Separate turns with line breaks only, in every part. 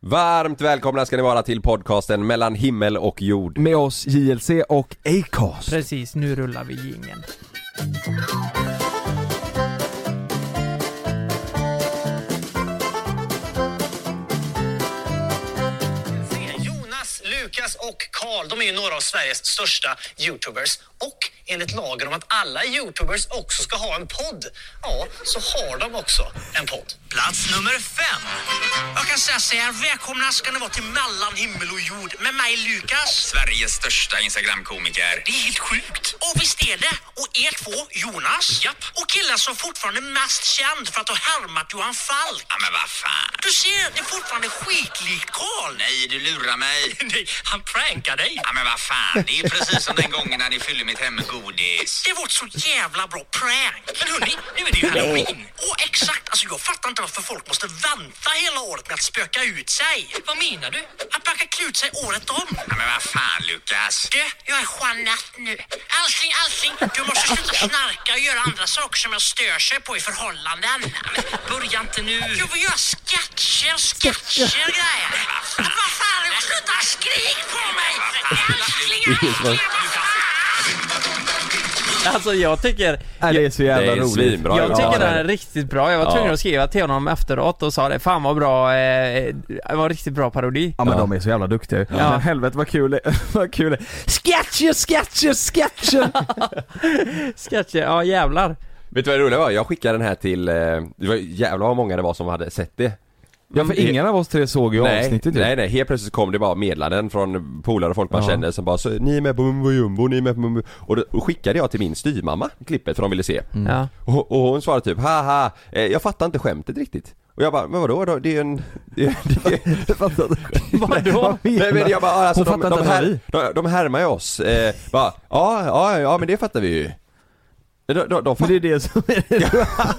Varmt välkomna ska ni vara till podcasten mellan himmel och jord.
Med oss JLC och Acast.
Precis, nu rullar vi jingeln.
Jonas, Lukas och Karl, de är ju några av Sveriges största YouTubers. Och enligt lagen om att alla YouTubers också ska ha en podd, ja, så har de också en podd. Plats nummer fem. Jag kan säga så här, välkomna ska ni vara till Mellan himmel och jord med mig Lukas.
Sveriges största Instagram-komiker.
Det är helt sjukt. Och visst är det. Och er två, Jonas.
Japp.
Och killen som fortfarande är mest känd för att ha härmat Johan Falk.
Ja, men vad fan.
Du ser, det är fortfarande skitlikt Karl.
Nej, du lurar mig.
Nej, han prankar dig.
Ja, men vad fan. Det är precis som den gången när ni fyllde mitt hem med godis.
Det var ett så jävla bra prank! Men hörni, nu är det ju halloween! Och exakt, alltså jag fattar inte varför folk måste vänta hela året med att spöka ut sig. Vad menar du? Att man kan klä ut sig året om.
Ja, men vad fan, Lukas.
Du, jag är Jeanette nu. Älskling, älskling, du måste sluta snarka och göra andra saker som jag stör sig på i förhållanden. Börja inte nu. Jag vill göra sketcher, sketcher och grejer. Men Vad fan, sluta skrik på mig! Älskling, älskling, vad fan!
Alltså jag tycker,
Nej, det är så jävla
det är
roligt.
svinbra
jag
ju.
tycker
Ja,
den är riktigt bra. Jag var tvungen att skriva till honom efteråt och sa det, fan vad bra, eh, det var en riktigt bra parodi.
Ja men de är så jävla duktiga ja. Men helvete vad kul det vad kul det Sketcher, sketcher, sketcher!
Sketcher, ja jävlar.
Vet du vad det roliga var? Jag skickade den här till, eh, det var jävlar vad många det var som hade sett det. Mm,
ja för ingen av oss tre såg ju
Nej,
avsnittet ju.
nej, nej, helt plötsligt kom det bara meddelanden från polare och folk man kände som bara så, ni är med på Mumbo Jumbo, ni är med på Mumbo Och då och skickade jag till min styvmamma klippet för de ville se.
Mm.
Ja.
Och, och hon svarade typ haha, eh, jag fattar inte skämtet riktigt. Och jag bara, men vadå då? Det är ju en... Det är, det är,
Vadå?
Nej men jag bara, alltså
Hon
de,
fattar
de,
inte att det
här, de, de härmar ju oss. Eh, bara, ja, ja, ja men det fattar vi ju. De, de, de
Men
fattar,
det är det som är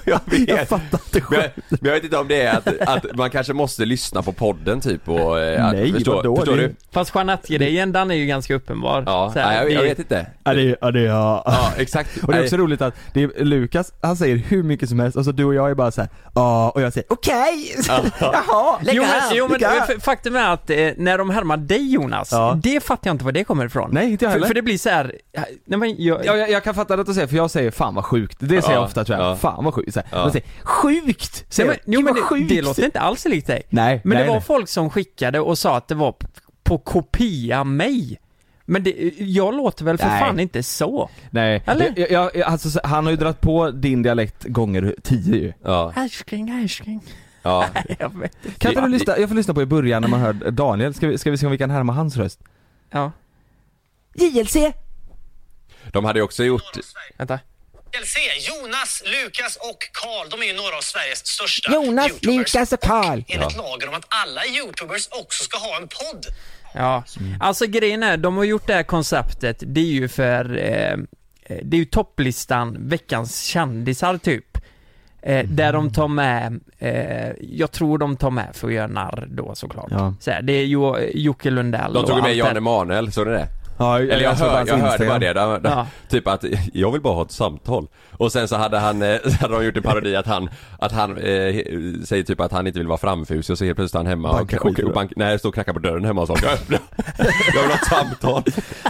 jag vet.
Jag fattar inte
Men,
själv.
jag- men jag vet inte om det är att, att man kanske måste lyssna på podden typ och... eh, att-
Nej,
förstå,
vadå?
Förstår
Det-
du?
Fast Jeanette-grejen den är ju ganska uppenbar.
Ja,
Så här,
nej, jag, jag
det-
vet inte.
Ja det är, ja det är, ja.
Ja, exakt.
Och det är också roligt att det är Lukas, han säger hur mycket som helst och så du och jag är bara såhär ja och jag säger okej, jaha,
Jo men, jo, men
lägg här.
f- faktum är att eh, när de härmar dig Jonas,
Ja.
det fattar jag inte var det kommer ifrån.
Nej, inte jag
för,
heller.
för det blir så här, eh, nej men jag,
Ja, jag, jag kan fatta det att du säger, för jag säger 'fan vad sjukt' Det säger
Ja,
jag ofta tror jag,
ja.
'fan vad sjukt' så här.
Ja.
De säger 'sjukt'
Nej,
säger
men,
jag.
jo, men
vad
det, det låter inte alls likt dig.
Nej,
Men
nej,
det var
nej.
folk som skickade och sa att det var p- på kopia mig. Men det, jag låter väl för
Nej.
fan inte så?
Nej,
Eller?
Det, jag, jag, alltså, så- han har ju dragit på din dialekt gånger tio ju
Ja,
Älskling, älskling.
ja.
Jag vet. inte.
Kan inte
Ja,
du lyssna, jag får lyssna på i början när man hör Daniel, ska vi, ska vi se om vi kan härma hans röst?
Ja,
JLC!
De hade ju också gjort...
vänta.
LC, Jonas, Lukas och Karl, de är ju några av Sveriges största
Jonas,
YouTubers.
Lukas och Karl!
Enligt lagen om att alla YouTubers också ska ha en podd.
Ja,
Mm.
alltså grejen är, de har gjort det här konceptet, det är ju för, eh, det är ju topplistan, veckans kändisar typ. Eh,
Mm.
där de tar med, eh, jag tror de tar med för att göra narr då såklart.
Ja.
Så här, det är jo, Jocke Lundell
De tog ju
och
med
allt
Jan
det.
Emanuel, såg ni det?
Ja,
Eller jag,
såg på
hör,
hans
jag hörde
Instagram.
bara det, de, de,
Ja.
typ att jag vill bara ha ett samtal. Och sen så hade han, eh, så hade de gjort en parodi att han, att han eh, säger typ att han inte vill vara framfusig och så helt plötsligt är han hemma och,
Bankar
och, och,
skit i det.
bank, nej, står och knackar på dörren hemma och så, jag öppnar, jag vill ha ett samtal.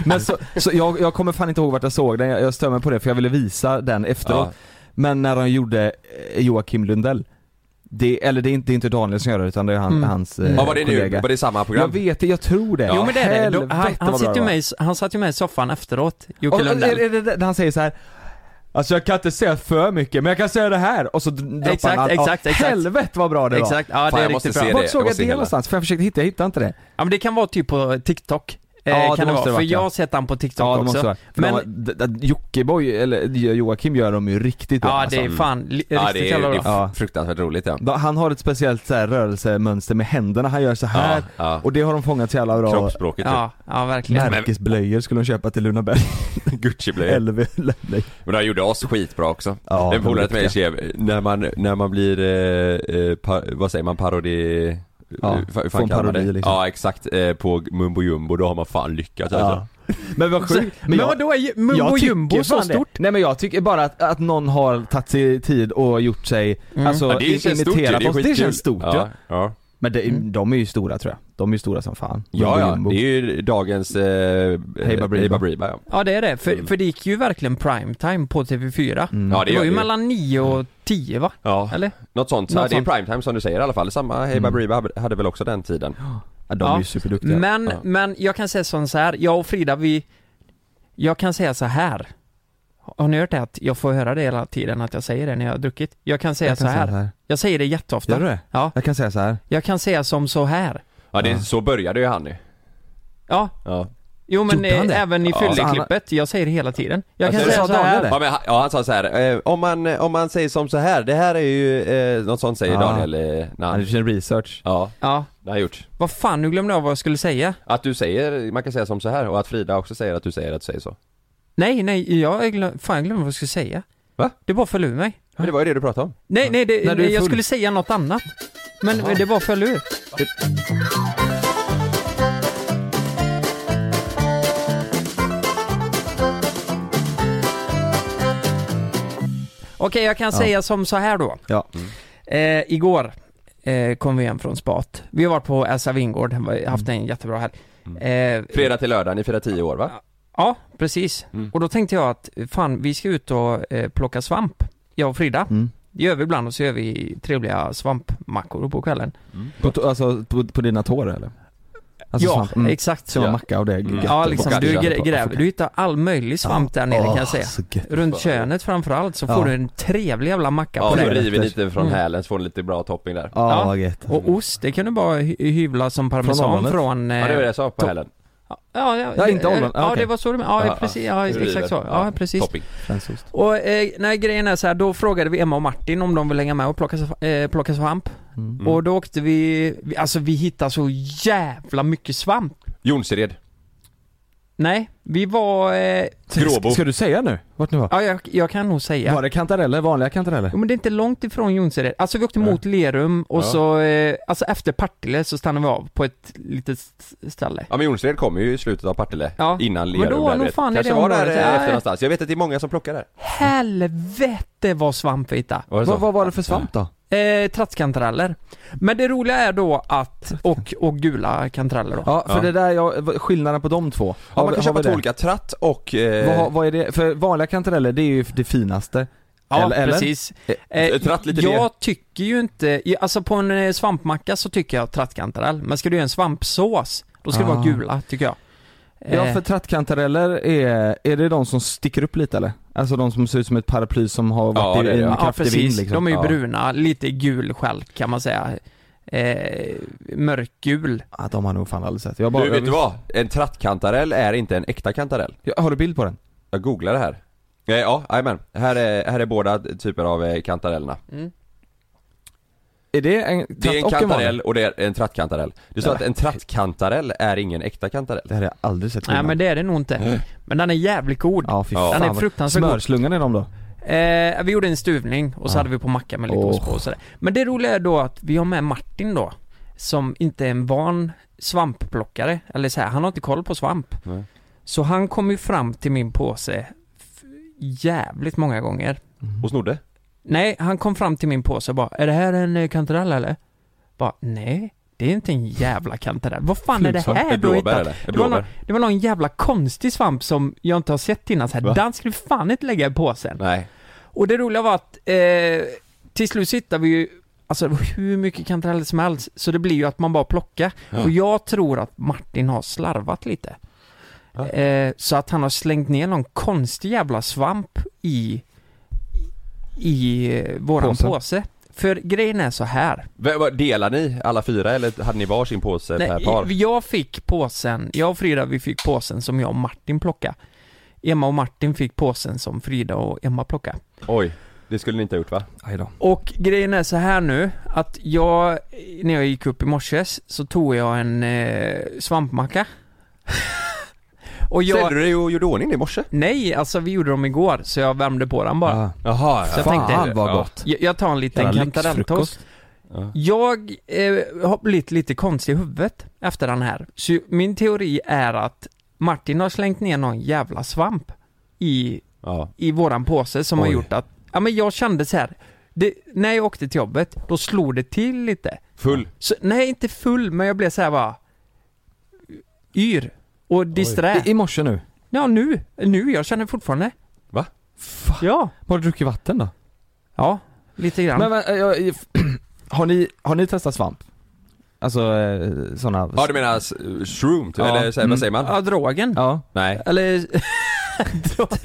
Men så, så jag, jag kommer fan inte ihåg vart jag såg den, jag, jag stör mig på det för jag ville visa den efteråt
Ja.
Men när de gjorde eh, Joakim Lundell det, eller det är, inte, det är inte Daniel som gör det utan det är han, hans eh,
Mm. Ja, var det nu,
kollega.
var det samma
Jag
program?
vet det, jag tror det.
Jo men det är det,
Helvete,
han, han,
vad
sitter
bra
ju
det
med, i s- han satt ju med i soffan efteråt,
var.
Jocke
Och- och-
Lundell.
är det det- Han säger så här. Alltså jag kan inte säga för mycket men jag kan säga det här och så d- droppar
Exakt,
han allt. Ja,
exakt, exakt.
Helvete vad bra det
Exakt, ja
Fan,
det är
jag
riktigt
måste
bra.
se
var.
det.
Vart såg
Jag
jag
måste
det
hela.
någonstans? För jag försökte hitta, jag hittade inte det.
Ja men det kan vara typ på TikTok. Eh,
Ja, det
kan det
måste
vara,
det
för
varit,
jag
ja.
har sett han på TikTok
Ja det måste
också.
det vara. För de
men,
var. d- d- Jockiboi, eller Joakim gör dem ju riktigt bra
ja det är
alltså.
fan li,
Ja,
riktigt
det är,
jävla
det
bra.
är
Ja.
fruktansvärt roligt ja.
Da- Han har ett speciellt så här, rörelsemönster med händerna, han gör så här
Ja, ja.
och det har de fångat så jävla bra.
Kroppsspråket typ.
Ja, ja verkligen.
Märkesblöjor skulle de köpa till Luna Berg.
Gucci-blöjor.
LV, nej.
Men han gjorde oss skitbra också.
Ja,
en polare till mig
duktiga.
skrev,
när man, när man blir, eh, eh, pa, vad säger man, parodi...
Ja,
hur fan
får en
kallar man
parodi,
det?
liksom.
Ja exakt, eh, på Mumbo Jumbo då har man fan lyckats alltså.
Ja. Men vad sjukt.
Men,
jag-
vadå, är ju Mumbo
jag tycker
Jumbo så
fan det.
stort?
Nej men jag tycker bara att, att någon har tagit sig tid och gjort sig, alltså
Ja, det
imiterat
ju,
oss. Det
skitkul.
känns stort ja.
ja.
Men det, de är ju stora tror jag. De är ju stora som fan.
Ja,
De
ja,
Jumbo.
det är ju dagens... Eh,
Hey Baberiba.
Hey Baberiba, ja.
Ja det är det, för,
Mm.
för det gick ju verkligen primetime på TV4.
Mm.
ja,
Det
gör
var ju
det
mellan 9 och 10 va?
Ja,
Eller?
något sånt. Så
Något
ja, det är
sånt.
primetime som du säger i alla fall. Samma Hey
Mm.
Baberiba hade- hade väl också den tiden.
ja, de är
Ja.
ju superduktiga.
Men,
Ja.
men jag kan säga som så här, jag och Frida vi, jag kan säga så här. Har ni hört det att jag får höra det hela tiden att jag säger det när jag har druckit? Jag kan säga
jag kan
så här.
säga så här.
Jag säger det jätteofta.
Gör du det?
Ja,
Jag kan säga så här.
jag kan säga som så här.
Ja, det, så började ju han ju.
Ja,
Ja.
jo men
Gjorde han det?
eh, även i
Ja.
fylleklippet, jag säger det hela tiden. Jag kan
Alltså,
säga
sa
så
Daniel det?
här.
Ja, men, han- ja, han sa så här. Eh, om, man, om man säger som så här, det här är ju... Eh, något sånt säger
Ja.
Daniel eh, när
Han
han,
har gjort sin research.
Ja,
Ja,
det har han gjort.
vad fan nu glömde jag vad jag skulle säga.
Att du säger, man kan säga som så här och att Frida också säger att du säger att du säger så.
Nej, nej, jag glömde, fan jag glömde vad jag skulle säga.
Va?
Det bara föll ur mig.
Men det var ju det du pratade om.
Nej, nej, det,
När du är
nej jag
full.
skulle säga något annat. Men det bara föll ur. Okej, jag kan säga som så här då.
Ja.
Eh, igår eh, kom vi hem från spat. Vi har varit på Elsa Vingård, haft en jättebra helg.
Mm.
Eh,
Fredag till lördag, ni firar 10 år va?
Ja, precis. Och då tänkte jag att fan, vi ska ut och eh, plocka svamp, jag och Frida.
Mm.
Det gör vi ibland och så gör vi trevliga svampmackor på kvällen.
På, to- alltså på, på dina tår eller? Alltså
ja,
svamp. Mm.
exakt så.
Så macka och det är
Mm.
gött.
Ja,
att
liksom,
baka.
du
Köra
grä-
på.
gräver, du hittar all möjlig svamp där nere kan jag
Åh,
säga.
så gött.
Runt könet framförallt så får
Ja.
du en trevlig jävla macka
Ja,
på
så
det.
river lite från hälen så får ni lite bra topping där.
Ja,
Mm. Ja.
vad gött.
Och ost, det kan du bara hy- hyvla som parmesan
ollonet?
från... eh,
Ja, det var det jag sa på
to-
hälen.
Ja, ja,
Ja, inte
det-
ollonet. Ja,
Ja,
okej.
det var så du menade. Ja,
Ja,
precis. Ja,
Du river.
exakt så. Ja, precis.
Topping.
Fransost.
Och eh, nej, grejen är så här, då frågade vi Emma och Martin om de vill hänga med och plocka, sv- eh, plocka svamp.
Mm.
Och då åkte vi, vi- alltså vi hittade så jävla mycket svamp.
Jonsered.
Nej, vi var, eh,
Gråbo.
Ska du säga nu? Vart ni var?
ja jag, jag kan nog säga.
Var det kantareller? Vanliga kantareller?
Jo men det är inte långt ifrån Jonsered. Alltså vi åkte mot Lerum och
Ja.
så, eh, alltså efter Partille så stannade vi av på ett litet st- ställe.
Ja men Jonsered kommer ju i slutet av Partille,
Ja.
innan
Men
Lerum
då var
där, du
nog
vet.
fan i
Kanske
det
var där
området.
eh,
Nej.
efter någonstans, jag vet att det är många som plockar där
Helvete vad svamp vi hittade.
Var det så?
Vad, vad var det för svamp då?
Eh, trattkantareller. Men det roliga är då att, och, och gula kantareller då.
Ja, för
Ja.
det där, jag, vad- skillnaden på de två.
Ja
Har
man
vi-
kan
har
köpa
vi
två
det?
olika, tratt och...
Vad, har-
Eh,
vad är det? För vanliga kantareller, det är ju det finaste.
Ja,
Eller- eller?
precis.
Eh, tratt lite
jag
mer.
tycker ju inte, ja, alltså på en eh, svampmacka så tycker jag trattkantarell, men ska du göra en svampsås, då ska det vara
Ah.
gula tycker jag.
Ja,
Eh,
för trattkantareller är, är det de som sticker upp lite eller? Alltså de som ser ut som ett paraply som har varit
Ja, det är
i
det,
en
ja.
ja,
kraftig
precis.
vind liksom.
De är ju
ja.
bruna, lite gul skälk kan man säga. Eh, mörkgul.
Ja, de har nog fan aldrig sett. Jag bara,
du vet
jag,
du vad? En trattkantarell är inte en äkta kantarell
Jag, har du bild på den?
Jag googlar det här Eh, Ja, jajamän. Här är, här är båda typer av eh, kantarellerna
Är det en tratt
Det är en
och en
kantarell
vanlig?
och det är en trattkantarell Du sa att en trattkantarell är ingen äkta kantarell
Det här har jag aldrig sett
Nej
innan.
men det är det nog inte. Men den är jävligt god.
Ja, fy
Ja.
fan.
Den är
vad-
fruktansvärt god.
Smörslungan är de då?
Eh, vi gjorde en stuvning och så hade vi på macka med lite
Åh.
ost på och sådär. Men det roliga är då att vi har med Martin då, som inte är en van svampplockare, eller så här, han har inte koll på svamp.
Nej.
Så han kom ju fram till min påse f- jävligt många gånger.
Och snodde?
Nej, han kom fram till min påse och bara, är det här en eh, kantarell eller? Bara, nej, det är inte en jävla kantarell. Vad fan är det
Flugsvamp.
Är
här
det
du har hittat?
blåbär eller? Är det
Det var, någon,
blåbär?
det var någon jävla konstig svamp som jag inte har sett innan så
Va?
här. Den skulle fan inte lägga i påsen.
Nej
Och det roliga var att eh, till slut sitter vi ju Alltså det var hur mycket kantareller som helst, så det blir ju att man bara plockar. Och jag tror att Martin har slarvat lite. Eh, så att han har slängt ner någon konstig jävla svamp i, i eh, våran
Påsen.
påse. För grejen är så här.
V- vad- Delar ni alla fyra eller hade ni varsin påse per
Nej,
par?
jag fick påsen, jag och Frida vi fick påsen som jag och Martin plockade. Emma och Martin fick påsen som Frida och Emma plockade.
Oj, det skulle ni inte ha gjort va?
Aj då.
Och grejen är så här nu att jag, när jag gick upp i morse så tog jag en eh, svampmacka. och jag,
Ställde du dig och gjorde ordning det i morse?
nej alltså vi gjorde dem igår så jag värmde på den bara.
Ah.
Jaha,
Så jag
Fan
tänkte-
vad
Ja.
gott.
Jag, jag tar en liten
Jävla
kantarelltoast. Jag eh, har blivit lite konstig i huvudet efter den här. Så min teori är att Martin har slängt ner någon jävla svamp i
ja.
i våran påse som har
Oj.
gjort att, ja men jag kände så här det, när jag åkte till jobbet, då slog det till lite.
Full.
Så, nej, inte full, men jag blev så här bara yr och disträ.
I, I morse nu.
Ja, nu, nu, jag känner fortfarande.
Va?
Ja,
Har du druckit vatten då?
ja, lite grann.
Men, men eh, jag, jag- har, ni, har ni testat svamp? Alltså eh, såna...
Ja du menar s- shroom, typ,
Ja.
eller så här, vad säger man?
ja, drogen.
Ja.
Nej.
Eller... drogen.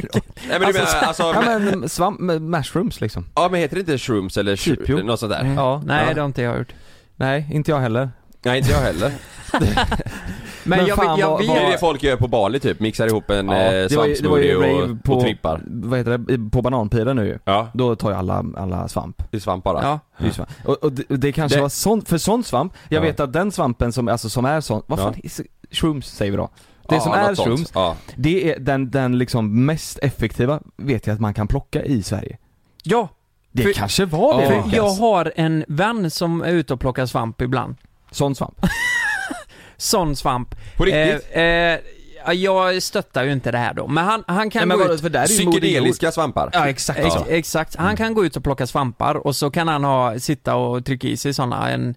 Nej men du menar alltså,
Ja
men,
men svamp, med mushrooms liksom.
ja men heter det inte shrooms eller sh-
Typ, jo.
något sånt där?
Ja.
Nej,
ja.
det har inte jag gjort.
Nej, inte jag heller.
Nej inte jag heller.
Men,
Men
jag,
fan,
jag,
vad-
vet-
Det är
vad-
det folk gör på Bali typ, mixar ihop en
Ja,
eh,
det var ju- det var ju
svampsmoothie
rave
och,
på-
och trippar.
Vad heter det? På bananpiren nu ju.
Ja,
Då tar ju alla, alla svamp.
det är svamp bara.
Ja.
Det är ju svamp. Och, och det, och det kanske
Det-
var sånt, för sån svamp, jag
Ja.
vet att den svampen som, alltså som är sån, vad
Ja.
fan, is- shrooms säger vi då. Det
Ja,
som
något
är
sånt.
shrooms,
Ja.
det är den, den liksom mest effektiva, vet jag att man kan plocka i Sverige.
Ja,
Det
För-
kanske var det Lukas.
för jag har en vän som är ute och plockar svamp ibland.
Sån svamp.
Sån svamp.
På riktigt?
Eh, eh, ja, jag stöttar ju inte det här då, men han, han kan gå ut...
för där
Psykedeliska svampar.
Ja exakt
Ex-
så. Mm.
Exakt, han kan gå ut och plocka svampar och så kan han ha, sitta och trycka i sig sådana en,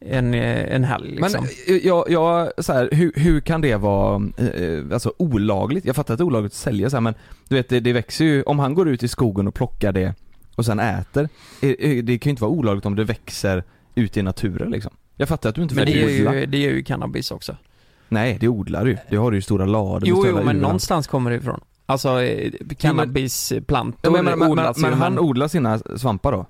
en, eh, en helg
Men
liksom.
eh, jag, jag så här, hur, hur kan det vara eh, eh, alltså, olagligt? Jag fattar att det är olagligt att sälja så här, men du vet det, det växer ju, om han går ut i skogen och plockar det och sen äter, eh, eh, det kan ju inte vara olagligt om det växer ute i naturen liksom. Jag fattar att du inte
Men,
får
det, är
odla.
ju, det är ju cannabis också.
Nej, det odlar du ju. Det har du ju stora lader
Jo,
stora
jo, men
urnar.
någonstans kommer det ifrån. Alltså, eh,
Ja,
cannabisplantor
men, men, men, men,
odlas
men
ju,
han odlar sina svampar då?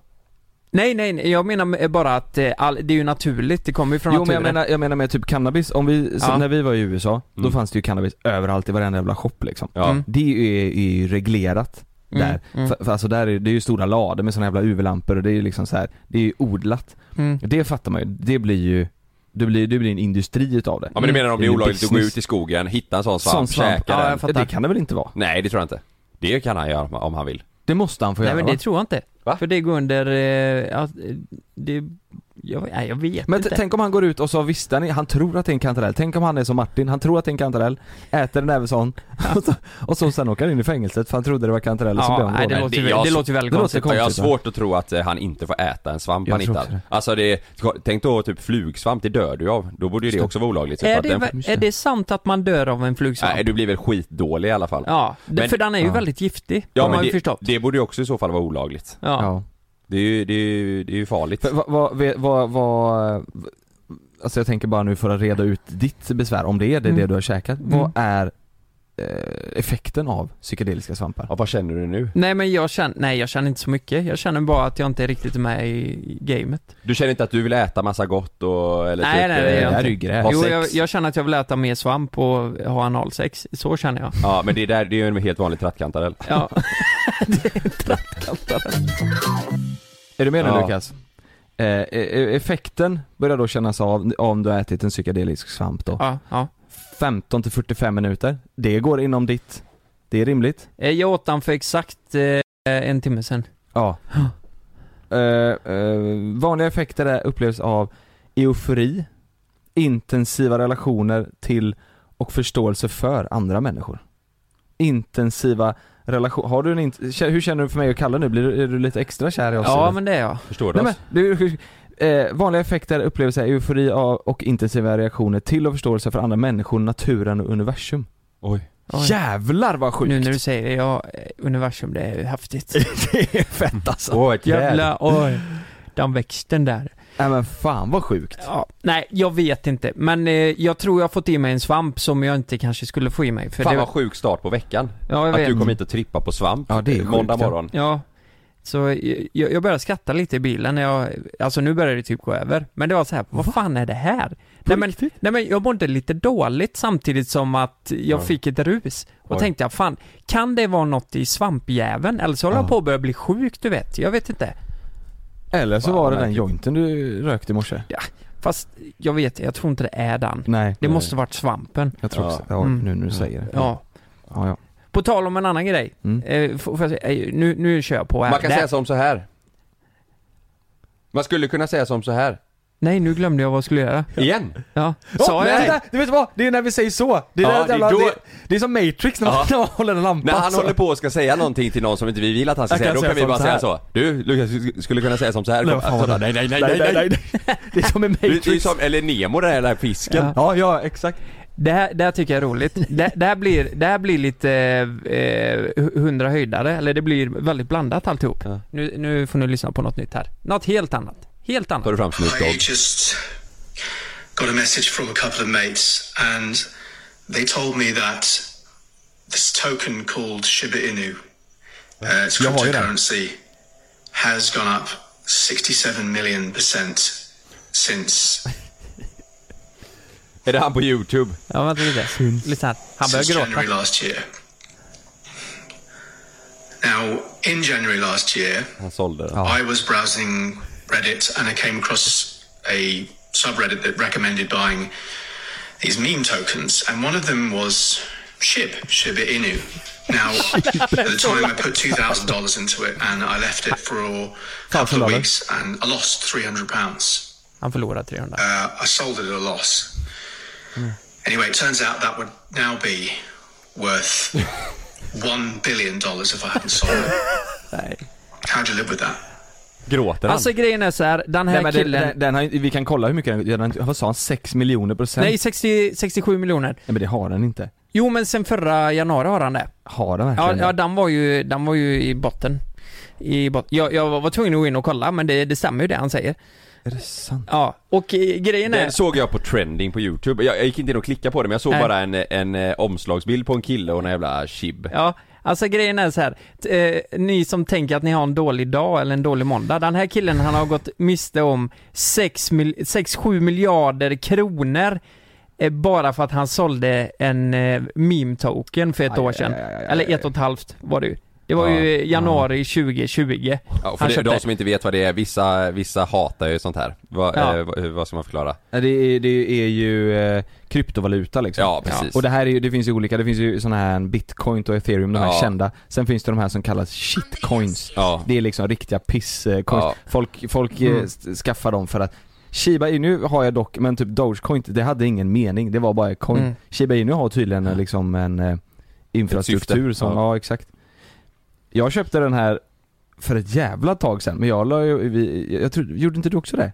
Nej, nej, nej, jag menar eh, bara att eh, all, det är ju naturligt, det kommer ju från
jo men
naturen.
jag menar, jag menar med typ cannabis, om vi, så,
Ja.
när vi var i USA, då
Mm.
fanns det ju cannabis överallt i varenda jävla shop liksom.
Ja.
Mm.
Det är ju, är ju reglerat
Mm,
där.
mm.
För, för alltså där är det är ju stora lader med såna jävla UV-lampor och det är ju liksom så här, det är ju odlat.
Mm.
Det fattar man ju, det blir ju, det blir, det blir en industri utav det.
Ja men du menar om det är
ju
olagligt att gå
business.
ut i skogen, hitta en sån svamp,
Sån svamp.
käka
Ja,
den?
jag fattar.
Det kan det väl inte vara?
Nej det tror jag inte. Det kan han göra om han vill.
Det måste han få
Nej
göra
men det
va?
tror jag inte.
Va?
För det går under, eh, ja, det, jag, nej, jag vet
Men t-
inte.
tänk om han går ut och så visste han, han tror att det är en kantarell, tänk om han är som Martin, han tror att det är en kantarell, äter en ävensson och, så, och så sen åker han in i fängelset för han trodde det var kantarell och så blev
ja,
han
nej, det,
rånad.
låter,
Det-
ju-
jag-
det låter ju väldigt
liksom, det låter
konstigt.
konstigt,
jag har
va?
svårt att tro att eh, han inte får äta en svamp
Jag
han
tror också
hittar.
det.
Alltså det, är- tänk då typ flugsvamp, det dör du av. Då borde ju det också vara olagligt. så
Är
att
det,
den-
ver- är det sant att man dör av en flugsvamp?
Nej du blir väl skitdålig i alla fall.
Ja, det,
Men-
för den är ju
ja.
väldigt giftig,
Ja,
har man
men
ju
det,
förstått.
det borde ju också i så fall vara olagligt.
ja.
Ja.
Det är ju, det är ju, det är ju farligt.
Vad, vad, vad, vad, alltså jag tänker bara nu för att reda ut ditt besvär, om det är det,
Mm.
det du har käkat,
Mm.
vad är eh, effekten av psykedeliska svampar?
Ja, vad känner du nu?
Nej men jag känner, nej jag känner inte så mycket. Jag känner bara att jag inte är riktigt med i gamet.
Du känner inte att du vill äta massa gott och eller
Nej,
typ,
nej, nej,
eh,
jag
det
inte.
här är ju gräs.
Ha
Jo,
sex.
jag, jag känner att jag vill äta mer svamp och ha analsex. Så känner jag.
Ja men det där, det är ju en helt vanlig trattkantarell.
Ja.
Är du med nu
Ja.
Lukas? Eh, e- e- effekten börjar då kännas av om du har ätit en psykedelisk svamp då.
ja, ja.
15 till 45 minuter, det går inom ditt, det är rimligt.
Eh, Jag åt den för exakt eh, en timme sedan.
Ja. Eh, eh, vanliga effekter är upplevs av eufori, intensiva relationer till och förståelse för andra människor. Intensiva relationer, har du en int- kä- hur känner du för mig och Kalle nu? Blir du, är du lite extra kär i oss?
Ja
eller?
men det är jag.
Förstår du
Nej, men,
oss?
du, eh, vanliga effekter upplevs av eufori av och intensiva reaktioner till och förståelse för andra människor, naturen och universum.
Oj.
Oj.
Jävlar vad sjukt!
Nu när du säger det, ja, eh, universum det är ju häftigt.
det är fett alltså.
Åh, ett
Jävla, oj. Den växten där.
Nej men fan vad sjukt.
Ja, nej, jag vet inte. Men eh, jag tror jag har fått i mig en svamp som jag inte kanske skulle få i mig. För
Fan
det,
vad sjuk start på veckan.
ja, jag
Att
vet.
du kom hit och trippa på svamp eh,
Ja, det är
måndag
sjukt, ja.
morgon.
Ja. Så eh, jag, jag började skratta lite i bilen när jag, alltså nu börjar det typ gå över. Men det var så här, vad fan är det här? Nej men,
riktigt?
nej men jag mådde lite dåligt samtidigt som att jag fick ett rus. Och
Oj.
tänkte jag, fan, kan det vara något i svampjäveln? Eller så håller jag på att börja bli sjuk, du vet. Jag vet inte.
Eller så
Fan,
var det
vad
den
märkligt.
jointen du rökte i morse.
Fast jag vet, jag tror inte det är den.
Nej.
Det måste varit svampen.
Jag tror
Ja.
också ja.
Mm.
nu när du säger det.
Ja.
ja, ja.
På tal om en annan grej.
Mm.
Eh, får, får jag säga, eh, nu, nu kör jag på här.
Man kan
Det-
säga som så här. Man skulle kunna säga som så här.
Nej, nu glömde jag vad jag skulle göra.
Igen?
Ja.
Sa
Sa
jag
jag
vänta, Du vet vad? Det är när vi säger så! Det är,
Ja,
där
det är
jävla,
då-
det, det är som Matrix när man,
Ja.
när man håller en lampa
När han
så.
håller på och ska säga någonting till någon som inte vi vill att han ska
Alltså- Jag
säga,
kan
då
säga
kan vi
som
bara
så
säga så.
här.
Du, Lukas, du skulle kunna säga som så här.
Nej, vad fan var det?
Alltså, nej, nej, nej, nej, nej, nej.
nej. Det är som i
Du, du är
Matrix.
som, eller Nemo den där jävla fisken.
Ja.
Ja, ja, exakt.
Det här, det här tycker jag är roligt. Det, det, här, blir, det här blir lite eh, hundra höjdare, eller det blir väldigt blandat alltihop.
Ja.
Nu, nu får ni lyssna på något nytt här. Något helt annat. Helt annat.
Tar du fram Snoop
I
Dogg.
just got a message from a couple of mates, and they told me that this token called Shiba Inu, uh, it's
Yeah, hold it up.
cryptocurrency, has gone up 67 million percent since
Är det han på YouTube?
Ja, vänta lite. Lyssna här. Han
since
börjar
January
gråta.
last year. Now, in January last year,
Han sålde den.
I was browsing Reddit and I came across a subreddit that recommended buying these meme tokens, and one of them was SHIB, Shiba Inu. Now, at the time, I put two thousand dollars into it, and I left it for a couple of
$1,000.
weeks, and I lost three hundred pounds
Han förlorar 300.
uh, I sold it at a loss. Anyway, it turns out that would now be worth one billion dollars if I hadn't sold it.
Nej.
How do you live with that?
Gråter han?
Alltså grejen är så här, den här
Nej, men den,
killen...
den, den har, vi kan kolla hur mycket den, den vad sa han, 6 miljoner procent?
nej,
Nej.
60, 67 miljoner.
men det har den inte.
Jo, men sen förra januari har han det.
Har den
Ja,
verkligen
ja
det?
den, var ju, den var ju i botten. I bot jag, jag var tvungen att gå in och kolla, men det, det stämmer ju det han säger.
Är det sant?
Ja, och eh, grejen är...
Den såg jag på trending på YouTube. Jag, jag gick inte in och klickade på det men jag såg
Nej.
bara en, en eh, omslagsbild på en kille och en jävla chib.
Ja, alltså grejen är så här. T- eh, ni som tänker att ni har en dålig dag eller en dålig måndag. Den här killen han har gått miste om 6-7 miljarder kronor eh, bara för att han sålde en eh, meme-token för ett
Aj,
år
aj,
sedan.
aj, aj, aj,
Eller ett och ett halvt var det ju. Det var ju
Ja,
januari 2020
Ja, för
han
det,
köpte.
de som inte vet vad det är, vissa, vissa hatar ju sånt här. Vad,
Ja.
eh, vad- vad ska man förklara?
Nej, Det är, det är ju eh, kryptovaluta liksom.
Ja, precis.
Och det här är ju, det finns ju olika, det finns ju sådana här bitcoin och ethereum, de här
Ja.
kända. Sen finns det de här som kallas shitcoins.
Ja.
Det är liksom riktiga piss-coins.
Ja.
Folk, folk eh, s- skaffar dem för att Shiba Inu har jag dock, men typ Dogecoin, det hade ingen mening. Det var bara ett coin.
Mm.
Shiba Inu har tydligen eh, liksom en eh, infrastruktur
syfte.
som,
Ja.
ja. exakt. Jag köpte den här för ett jävla tag sedan, men jag la ju, vi, jag tror, gjorde inte du också det?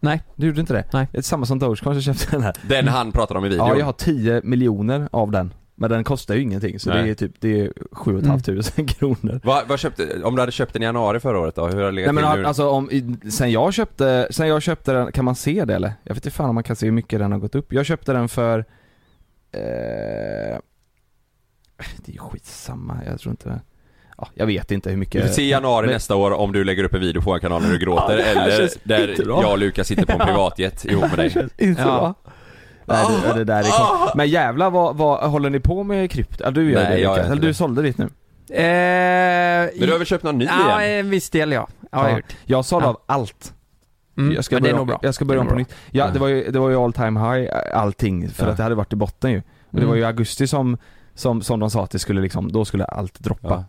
Nej.
Du gjorde inte det?
Nej.
Det är samma som Dogecoin som köpte den här.
Den han pratar om i videon.
Ja, jag har 10 miljoner av den. Men den kostar ju ingenting, så
Nej.
det är typ, det är 7 500 kronor.
Vad, vad köpte, om du hade köpt den i januari förra året då, hur har det
Nej
legat
men
till nu?
alltså om, i- sen jag köpte, sen jag köpte den, kan man se det eller? Jag vet inte fan om man kan se hur mycket den har gått upp. Jag köpte den för, eh, det är ju skitsamma, jag tror inte det. Ja, jag vet inte hur
Vi
mycket.
får se i januari
Men-
nästa år om du lägger upp en video på vår kanal när du gråter
Ja, det här
eller
känns
där
skitbra.
jag och Lukas sitter på en privatjet ihop med dig. Ah!
Inte
Ja.
bra. Nej, det, det där är klart. Men jävlar vad, vad håller ni på med krypto? Ja, du gör
Nej,
det
jag gör
Lukas,
inte
eller du
det.
sålde ditt nu?
Eh, men
Men du har väl köpt någon ny
Eh, Ja,
igen?
en viss del ja. ja, jag har gjort.
Jag sålde
Ja.
av allt.
Mm.
Jag ska
men det är
börja,
nog
om,
bra. Mm.
jag ska börja
Det är
om på
nog
nytt. Ja,
Ja.
det var ju, det var ju all time high eh, allting för
Ja.
att det hade varit i botten ju. Och det
Mm.
var ju i augusti som, som, som de sa att det skulle liksom, då skulle allt droppa.
Ja.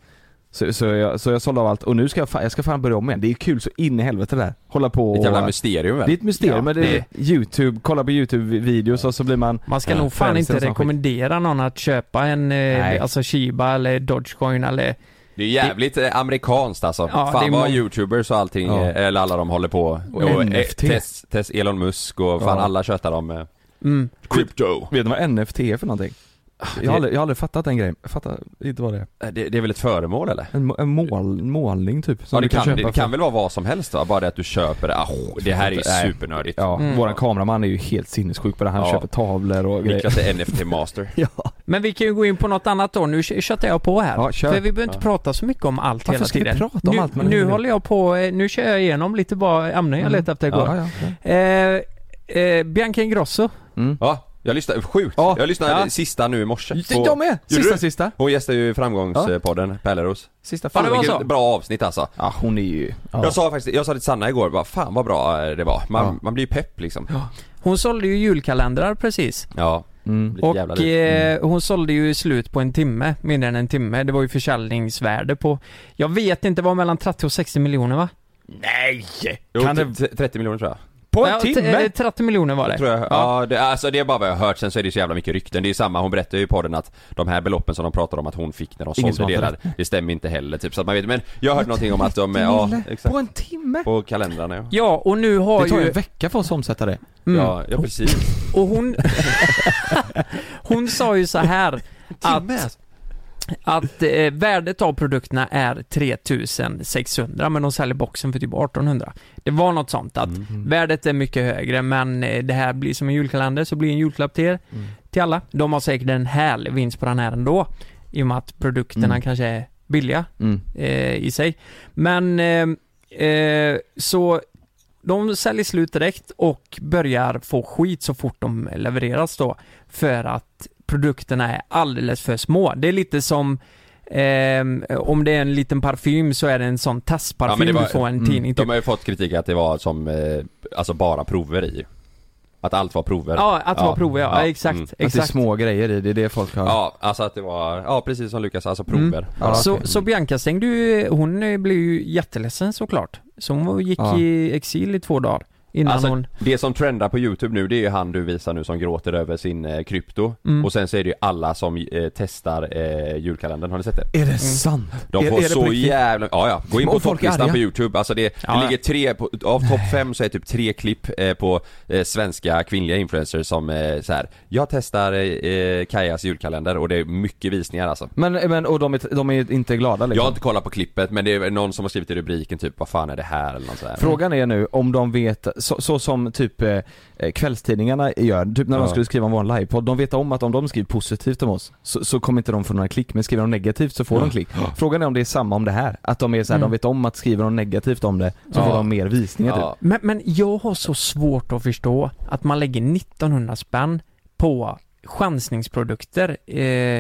Så, så, jag, så jag sålde av allt och nu ska jag, fa- jag ska fan börja om igen. Det är ju kul så in i helvete det där. Hålla på
Ett
och...
jävla mysterium väl?
det är ett mysterium,
Ja,
men det, är youtube, kolla på youtube-videos och så blir man...
Man ska
Ja.
nog fan
Frälser
inte
och sån skit.
rekommendera någon att köpa en, eh,
Nej.
alltså Shiba eller Dogecoin eller
Det är jävligt det... amerikanskt alltså.
Ja, det är
fan vad
mång-
youtubers och allting,
Ja.
eh, eller alla de håller på. Och, eh,
NFT.
Tess, Tess Elon Musk och fan
Ja.
alla tjötar om eh,
mm.
crypto.
Vet du vad NFT är för någonting?
Ah,
Jag har aldrig, jag har aldrig fattat den grejen. Jag fattar inte vad det är.
Eh, Det, det är väl ett föremål eller?
En, må- en mål, målning typ. Som
Ja, det, kan, det,
köpa
det kan
för-
väl vara vad som helst va? Bara det att du köper det. Ah, det här är ju
Nej.
supernördigt.
Ja,
Mm.
våran kameraman är ju helt sinnessjuk på det. Han
Ja.
köper tavlor och grejer.
Niklas är NFT-master.
Ja.
Men vi kan ju gå in på något annat då, nu kö- köttar jag på här.
Ja, kör.
För vi behöver inte prata så mycket om allt
Varför
hela
ska vi
tiden.
prata om
nu,
allt man
Nu
hinner?
håller jag på, eh, nu kör jag igenom lite bara ämnen jag letade efter igår.
Mm. Ja, ja, ja.
Eh, eh, Bianca Ingrosso.
Ja, jag lyssnade, sjukt.
Ja.
Jag lyssnade
Ja.
sista nu i morse. på-
Jag med!
Gjorde
Sista,
du?
sista.
Hon gästar ju framgångspodden, Pärleros.
Sista
Fan
det var
vilket
så.
bra avsnitt alltså.
Ja, hon är ju... Ja.
Jag sa faktiskt, jag sa till Sanna igår bara, fan vad bra eh, det var. Man,
Ja.
man blir ju pepp liksom. Ja.
Hon sålde ju julkalendrar precis.
Mm.
Lite jävla
Och
dyrt.
eh, hon sålde ju slut på en timme, mindre än en timme. Det var ju försäljningsvärde på, jag vet inte, det var mellan 30 och 60 miljoner va?
Jo,
kan
t- 30 miljoner tror jag.
På en
Ja, t-
timme?
eh, 30 miljoner var det.
Tror jag. Ja,
Ja.
det, alltså det är bara vad jag har hört, sen så är det så jävla mycket rykten. Det är samma, hon berättar ju i podden att de här beloppen som de pratar om att hon fick när de
Ingen
sålde
som har
delar,
hört
det stämmer inte heller typ. Så att man vet, men jag har hört någonting om att de, ja exakt.
På en timme?
På kalendrarna ja.
Ja, och nu har
Det tar ju
ju... mm.
en vecka för oss att omsätta det.
Ja, ja precis.
Och hon... hon sa ju så här att... Att eh, värdet av produkterna är 3600 men de säljer boxen för typ 1800. Det var något sånt att värdet är mycket högre men eh, det här blir som en julkalender så blir en julklapp till er, till alla. De har säkert en härlig vinst på den här ändå. I och med att produkterna
Mm.
kanske är billiga
Mm.
eh, i sig. Men eh, eh, så de säljer slut direkt och börjar få skit så fort de levereras då för att produkterna är alldeles för små. Det är lite som ehm, om det är en liten parfym så är det en sån
Ja, men
testparfym
det var-
du får en
mm,
tidning
De
typ.
har ju fått kritik att det var som, eh, alltså bara prover i. Att allt var prover.
Ja, att det var prover ja. ja exakt,
mm.
Att det är
exakt.
små grejer i det, är det folk har.
Ja, alltså att det var, ja precis som Lukas, alltså prover.
Mm.
Ja.
Så,
okej.
så Bianca stängde ju, hon eh, blev ju jätteledsen såklart. Så hon gick
Ja.
i exil i två dagar innan
Alltså,
hon...
Det som trendar på youtube nu det är ju han du visar nu som gråter över sin eh, krypto
Mm.
Och sen så är det ju alla som eh, testar eh, julkalendern, har ni sett det?
Är det sant?
De
är,
får
är det på
så
riktigt?
jävla, ja ja, gå in på
Och folk är
topplistan
arga.
på youtube, alltså det,
Ja,
det
ja.
ligger tre, på, av topp fem så är typ tre klipp eh, på eh, svenska kvinnliga influencers som eh, så här. jag testar eh, eh, Kajas julkalender och det är mycket visningar alltså
Men, men och de är, de är inte glada
Jag har
liksom.
inte kollat på klippet men det är någon som har skrivit i rubriken typ vad fan är det här eller något så här.
Frågan är nu om de vet, så, så som typ eh, eh, kvällstidningarna gör, typ när
Ja.
de skulle skriva om vår livepodd, de vet om att om de skriver positivt om oss så, så kommer inte de få några klick, men skriver de negativt så får de klick. Frågan är om det är samma om det här, att de är så här,
Mm.
de vet om att skriver de negativt om det så
Ja.
får de mer visningar
Ja.
typ.
Men, men jag har så svårt att förstå att man lägger 1900 spänn på chansningsprodukter eh,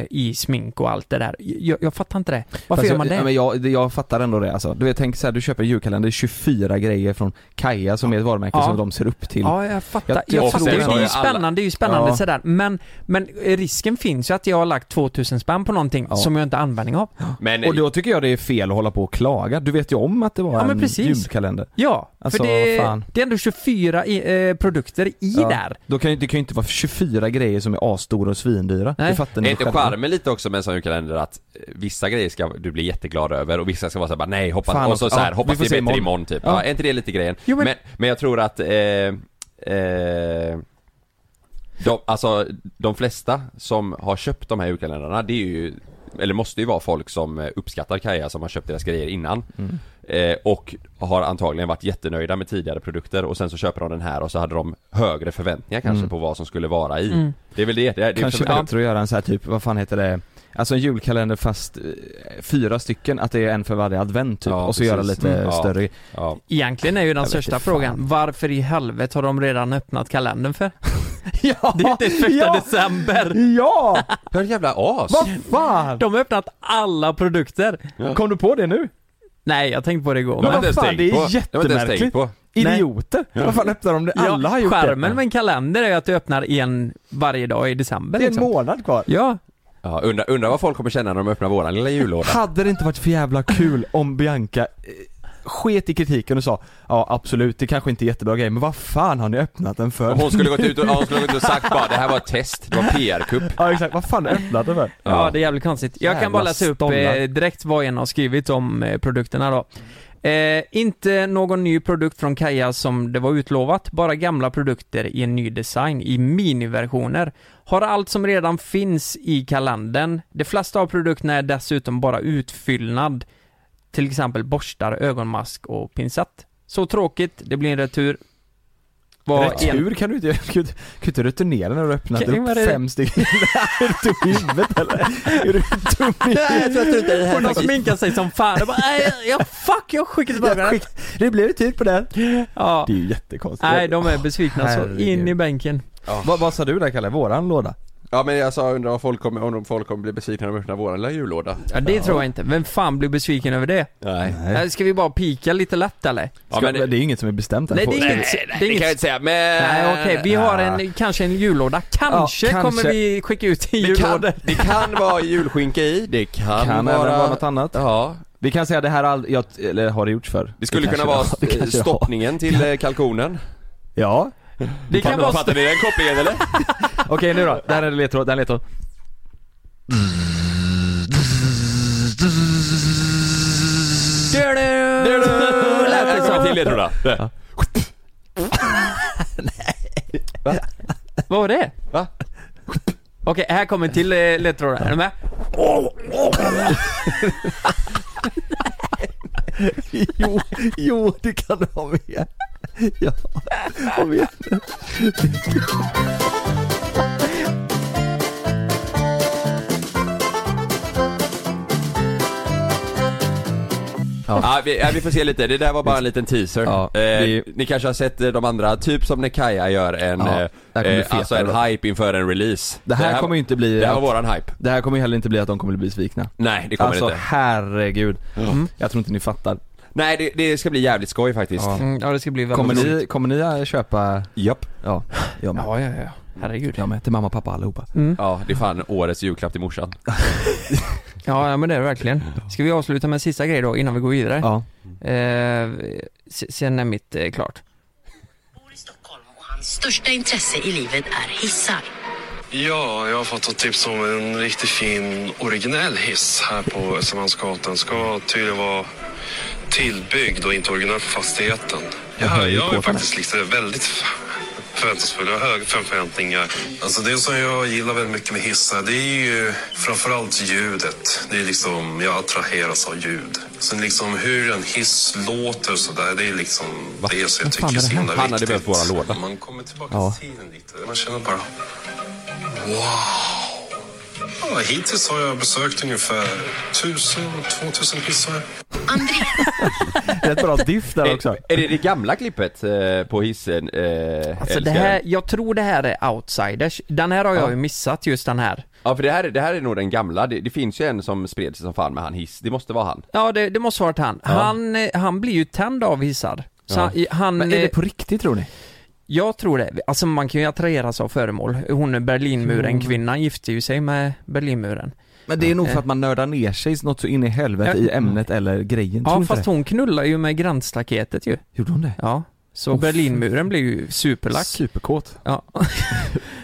i smink och allt det där. Jag, jag fattar inte det. Varför
Fast
gör man
jag,
det?
ja, Men jag, det- jag fattar ändå det alltså. Du vet, tänk så här, du köper en julkalender, 24 grejer från Kaja som är ett varumärke
Ja.
som de ser upp till.
Ja, jag fattar.
Jag-
Jag,
och
fattar
sen
ju.
så
Det är
har
ju
ju alla-
spännande, det är ju spännande
Ja.
sådär. Men, men risken finns ju att jag har lagt 2000 spänn på någonting
Ja.
som jag inte har användning av.
Men
Och då tycker jag det är fel att hålla på och klaga. Du vet ju om att det var
Ja, men
en
precis.
julkalender.
Ja,
Alltså,
för det,
fan.
det är ändå 24 i, eh, produkter i
Ja.
där.
Då kan, ju- det kan ju inte vara 24 grejer som är asstora och svindyra.
Nej.
Det fattar ni
Är inte
själva.
charmen lite också med en sån julkalender att eh, vissa grejer ska du bli jätteglad över och vissa ska vara såhär bara nej hoppas,
Fan,
och så,
ja,
så här,
vi
hoppas
får
det är
se
bättre imorgon,
imorgon.
typ. Ja.
Ja.
är inte det lite grejen?
Jo,
men...
men-
Men, jag tror att, eh, eh, de, alltså de flesta som har köpt de här julkalendrarna det är ju eller måste ju vara folk som eh, uppskattar Kaja som har köpt deras grejer innan
Mm.
eh, Och har antagligen varit jättenöjda med tidigare produkter och sen så köper de den här och så hade de högre förväntningar kanske på vad som skulle vara i
Mm.
Det är väl det, det är, det är
Mm. Kanske
förvä-
bättre att göra en så här typ, vad fan heter det? Alltså en julkalender fast eh, fyra stycken, att det är en för varje advent typ.
Ja,
och så
precis.
göra lite
Mm. Ja.
större
ja.
Egentligen är ju den
vet
största
inte fan.
frågan, varför i helvete har de redan öppnat kalendern för? ja, det är ju inte första
ja.
december!
Ja!
Jag är ett jävla as!
Vad fan!
De har öppnat alla produkter.
Kom du på det nu?
Nej, jag tänkte på det igår.
De har
vad
inte ens
fan,
tänkt
det är
på. De har inte ens
jättemärkligt.
tänkt på.
Idioter! Vad fan öppnar de det? Alla har gjort det.
Skärmen med en kalender är ju att du öppnar en varje dag i december.
Det är en
liksom.
månad kvar.
Ja,
Ja, undrar undra vad folk kommer känna när de öppnar våran lilla jullåda.
Hade det inte varit för jävla kul om Bianca eh, sket i kritiken och sa Ja absolut, det kanske inte är jättebra grej men vad fan har ni öppnat den för?
Hon skulle gått ut och, ja, hon skulle gått ut och sagt bara det här var ett test, det var PR-kupp.
Ja exakt, vad fan har ni öppnat den för?
ja.
Ja.
det är jävligt konstigt. Jag kan
Jävla
bara läsa upp
stollar.
eh, direkt vad en har skrivit om eh, produkterna då. Eh, inte någon ny produkt från Kaja som det var utlovat, bara gamla produkter i en ny design i miniversioner. Har allt som redan finns i kalendern. De flesta av produkterna är dessutom bara utfyllnad. Till exempel borstar, ögonmask och pinsett. Så tråkigt, det blir en retur. Vad en-
Retur kan du inte, kan du inte- kan du inte returnera när du har öppnat
Kan-
upp
vad är det?
fem stycken? är du dum i huvudet eller? Är du dum i huvudet?
Hon har sminkat sig som fan. Jag bara, nej, jag, fuck, jag skickar tillbaka
Jag
den.
skick- Det blev tur på den.
Ja.
Det är ju jättekonstigt.
Nej, de är besvikna så
Herregud.
in i bänken.
vad, vad sa du där Kalle? Våran låda?
Ja men jag sa undrar om folk kommer, om folk kommer bli besvikna när de öppnar våran lilla jullåda.
Ja, det tror jag inte. Vem fan blir besviken över det?
Nej.
Nej. Ska vi bara pika lite lätt eller?
Ja,
Ska,
men,
det är ju inget som är bestämt än.
Nej, det är
Får-
inget.
nej, nej,
det
det
är
kan
inget-
jag inte säga men...
Nej okej, vi har en, kanske en jullåda. Kanske,
Ja, kanske.
kommer vi skicka ut en
det kan,
jullåda.
det kan vara julskinka i, det kan,
Kan även
vara...
vara något annat.
Ja.
Vi kan säga det här aldrig, jag, eller har det gjorts förr?
Det skulle kunna
kanske
vara
det har. Det kanske det har.
stoppningen till eh, kalkonen.
Ja.
Det kan vara...
Fattar ni den kopplingen eller?
Okej nu då, där är det ledtråd, där är ledtråd.
Lät det som till ledtrådarna? Det.
Vad var det?
Va?
Okej, här kommer till eh, ledtrådar. Är du med?
Jo, jo det kan du ha med. Ja, jag vet.
Ja, vi, ja, vi får se lite, det där var bara en liten teaser.
Ja, vi-
eh, ni kanske har sett eh, de andra, typ som när Kaja gör en,
Ja, det här
eh,
kommer bli
eh, alltså en
fetare då.
hype inför en release.
Det här kommer ju inte bli
Det här var
att-
våran hype.
Det här kommer ju heller inte bli att de kommer bli besvikna.
Nej, det kommer
Alltså
inte.
herregud. Mm. Jag tror inte ni fattar.
Nej, det, det ska bli jävligt skoj faktiskt.
Ja.
Mm, ja, det ska bli väldigt
Kommer
roligt.
ni, kommer ni att köpa,
Japp.
ja, jag med.
Ja, ja, ja. Herregud.
Jag med, till mamma och pappa allihopa.
Ja, det är fan årets julklapp till morsan.
Ja, ja, men det är det verkligen. Ska vi avsluta med en sista grej då innan vi går vidare?
Ja.
Eh, se- sen är mitt eh, klart.
bor i Stockholm och hans största intresse i livet är hissar.
Ja, jag har fått ett tips om en riktigt fin originell hiss här på Östermalmsgatan. Ska tydligen vara tillbyggd och inte originell för fastigheten. Ja, jag är faktiskt lite väldigt f- förväntansfull. Jag har höga förväntningar. Alltså det som jag gillar väldigt mycket med hissar det är ju framförallt ljudet. Det är liksom, jag attraheras av ljud. Sen liksom hur en hiss låter och sådär, det är liksom det som jag
fan
tycker är
är
så
det här?
himla viktigt.
Han hade behövt våra låda.
Man kommer tillbaka
Ja.
till tiden lite. Man känner bara Ja, hittills har jag besökt ungefär 1000-2000 hissar.
André
Rätt bra diff där också.
Är, Eh, är det det gamla klippet eh, på hissen? Eh,
Alltså det här, jag tror det här är outsiders. Den här har jag ju missat just den här.
Ja för det här, är- det här är nog den gamla, det, det finns ju en som spred sig som fan med han hiss, det måste vara han.
Mm.
Ja, det, det måste varit han. Han, eh, han blir ju tänd av hissar. Så han, han,
Men är det
eh,
på riktigt tror ni?
jag tror det. Alltså man kan ju attraheras av föremål. Hon
Mm.
Berlinmuren-kvinnan gifte ju sig med Berlinmuren.
Men det är nog för att man nördar ner sig något så in i helvete
Ja.
i ämnet eller grejen. tror
Ja,
inte
fast
det?
hon knullar ju med gränsstaketet ju.
Gjorde hon det?
Ja. Så
Åh,
Berlinmuren blir ju superlack.
Superkåt.
Ja.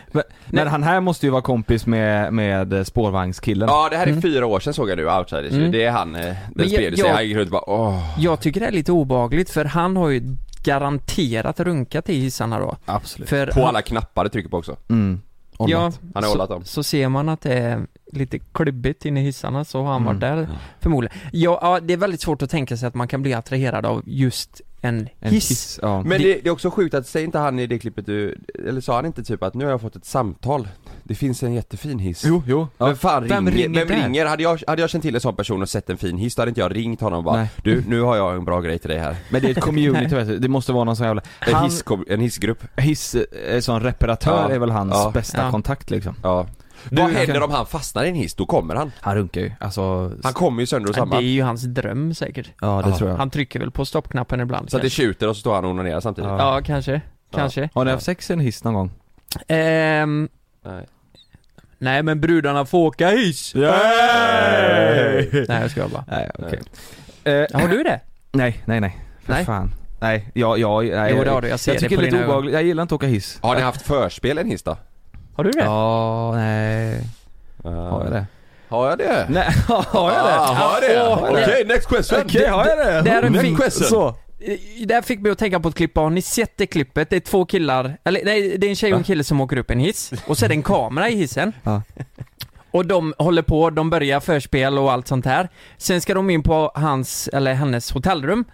Men, men han här måste ju vara kompis med, med spårvagnskillen.
Ja det här är fyra år sedan såg jag nu, Outsiders
Mm.
Det är han, eh,
Men
den
jag-
spred sig,
jag-
han gick runt och bara åh.
Jag tycker det är lite obagligt för han har ju garanterat runkat i hissarna då.
Absolut.
För
På
han-
alla knappar du trycker på också.
Mm. Ordnat.
Ja,
Han har
så,
hållat dem.
så ser man att det är lite klibbigt inne i hissarna så har han varit
Mm.
där förmodligen. Ja, ja, det är väldigt svårt att tänka sig att man kan bli attraherad av just en,
En
hiss.
kiss. Ja.
Men det, det är också sjukt att, säger inte han i det klippet du, eller sa han inte typ att nu har jag fått ett samtal, det finns en jättefin hiss?
Jo, jo. Ja.
Vem fan
Vem
ringer?
ringer
Vem
där?
ringer? Hade jag, hade jag känt till en sån person och sett en fin hiss, då hade inte jag ringt honom och bara
Nej.
Du, nu har jag en bra grej till dig här.
Men det är ett community, vet du. det måste vara någon sån jävla...
En,
Han, hiss,
hissko- en hissgrupp.
eh, som reparatör
Ja.
är väl hans
Ja.
bästa
Ja.
kontakt liksom.
Ja. Vad
jag
händer
kan-
om han fastnar i en hiss? Då kommer han.
Han runkar ju, alltså...
Han kommer ju sönder och
Ja, det är
samman.
ju hans dröm säkert.
ja, det tror jag.
Han trycker väl på stoppknappen ibland.
Så att det
kanske.
tjuter och så står han och onanerar samtidigt.
Ja.
Ja, kanske. Kanske.
Har ni haft sex i en hiss någon gång?
Ehm,
Nej.
nej men brudarna får åka hiss!
Nej!
Nej jag skojar bara.
Nej, okej. Eh,
Har du det?
Nej, nej, nej. För
Nej.
fan. Nej, jag, jag, nej,
Jo, det har du. Jag ser det
tycker
på
det är lite
dina
obehagligt, jag gillar inte att åka hiss.
Har ni haft förspel i en hiss då?
Har du det?
Ja, nej. Har jag det?
Har jag det?
Nej, har jag
Ah,
det?
har jag det?
Ah,
Okej, next question!
Okej, har jag det?
det här är en
Next
fin-
question. Så.
Eh, Det här fick mig att tänka på ett klipp, har ni sett det klippet? Det är två killar, eller nej, det är en tjej och en kille som åker upp en hiss, och så är det en kamera i hissen.
Ja.
Och de håller på, de börjar förspel och allt sånt här. Sen ska de in på hans, eller hennes hotellrum.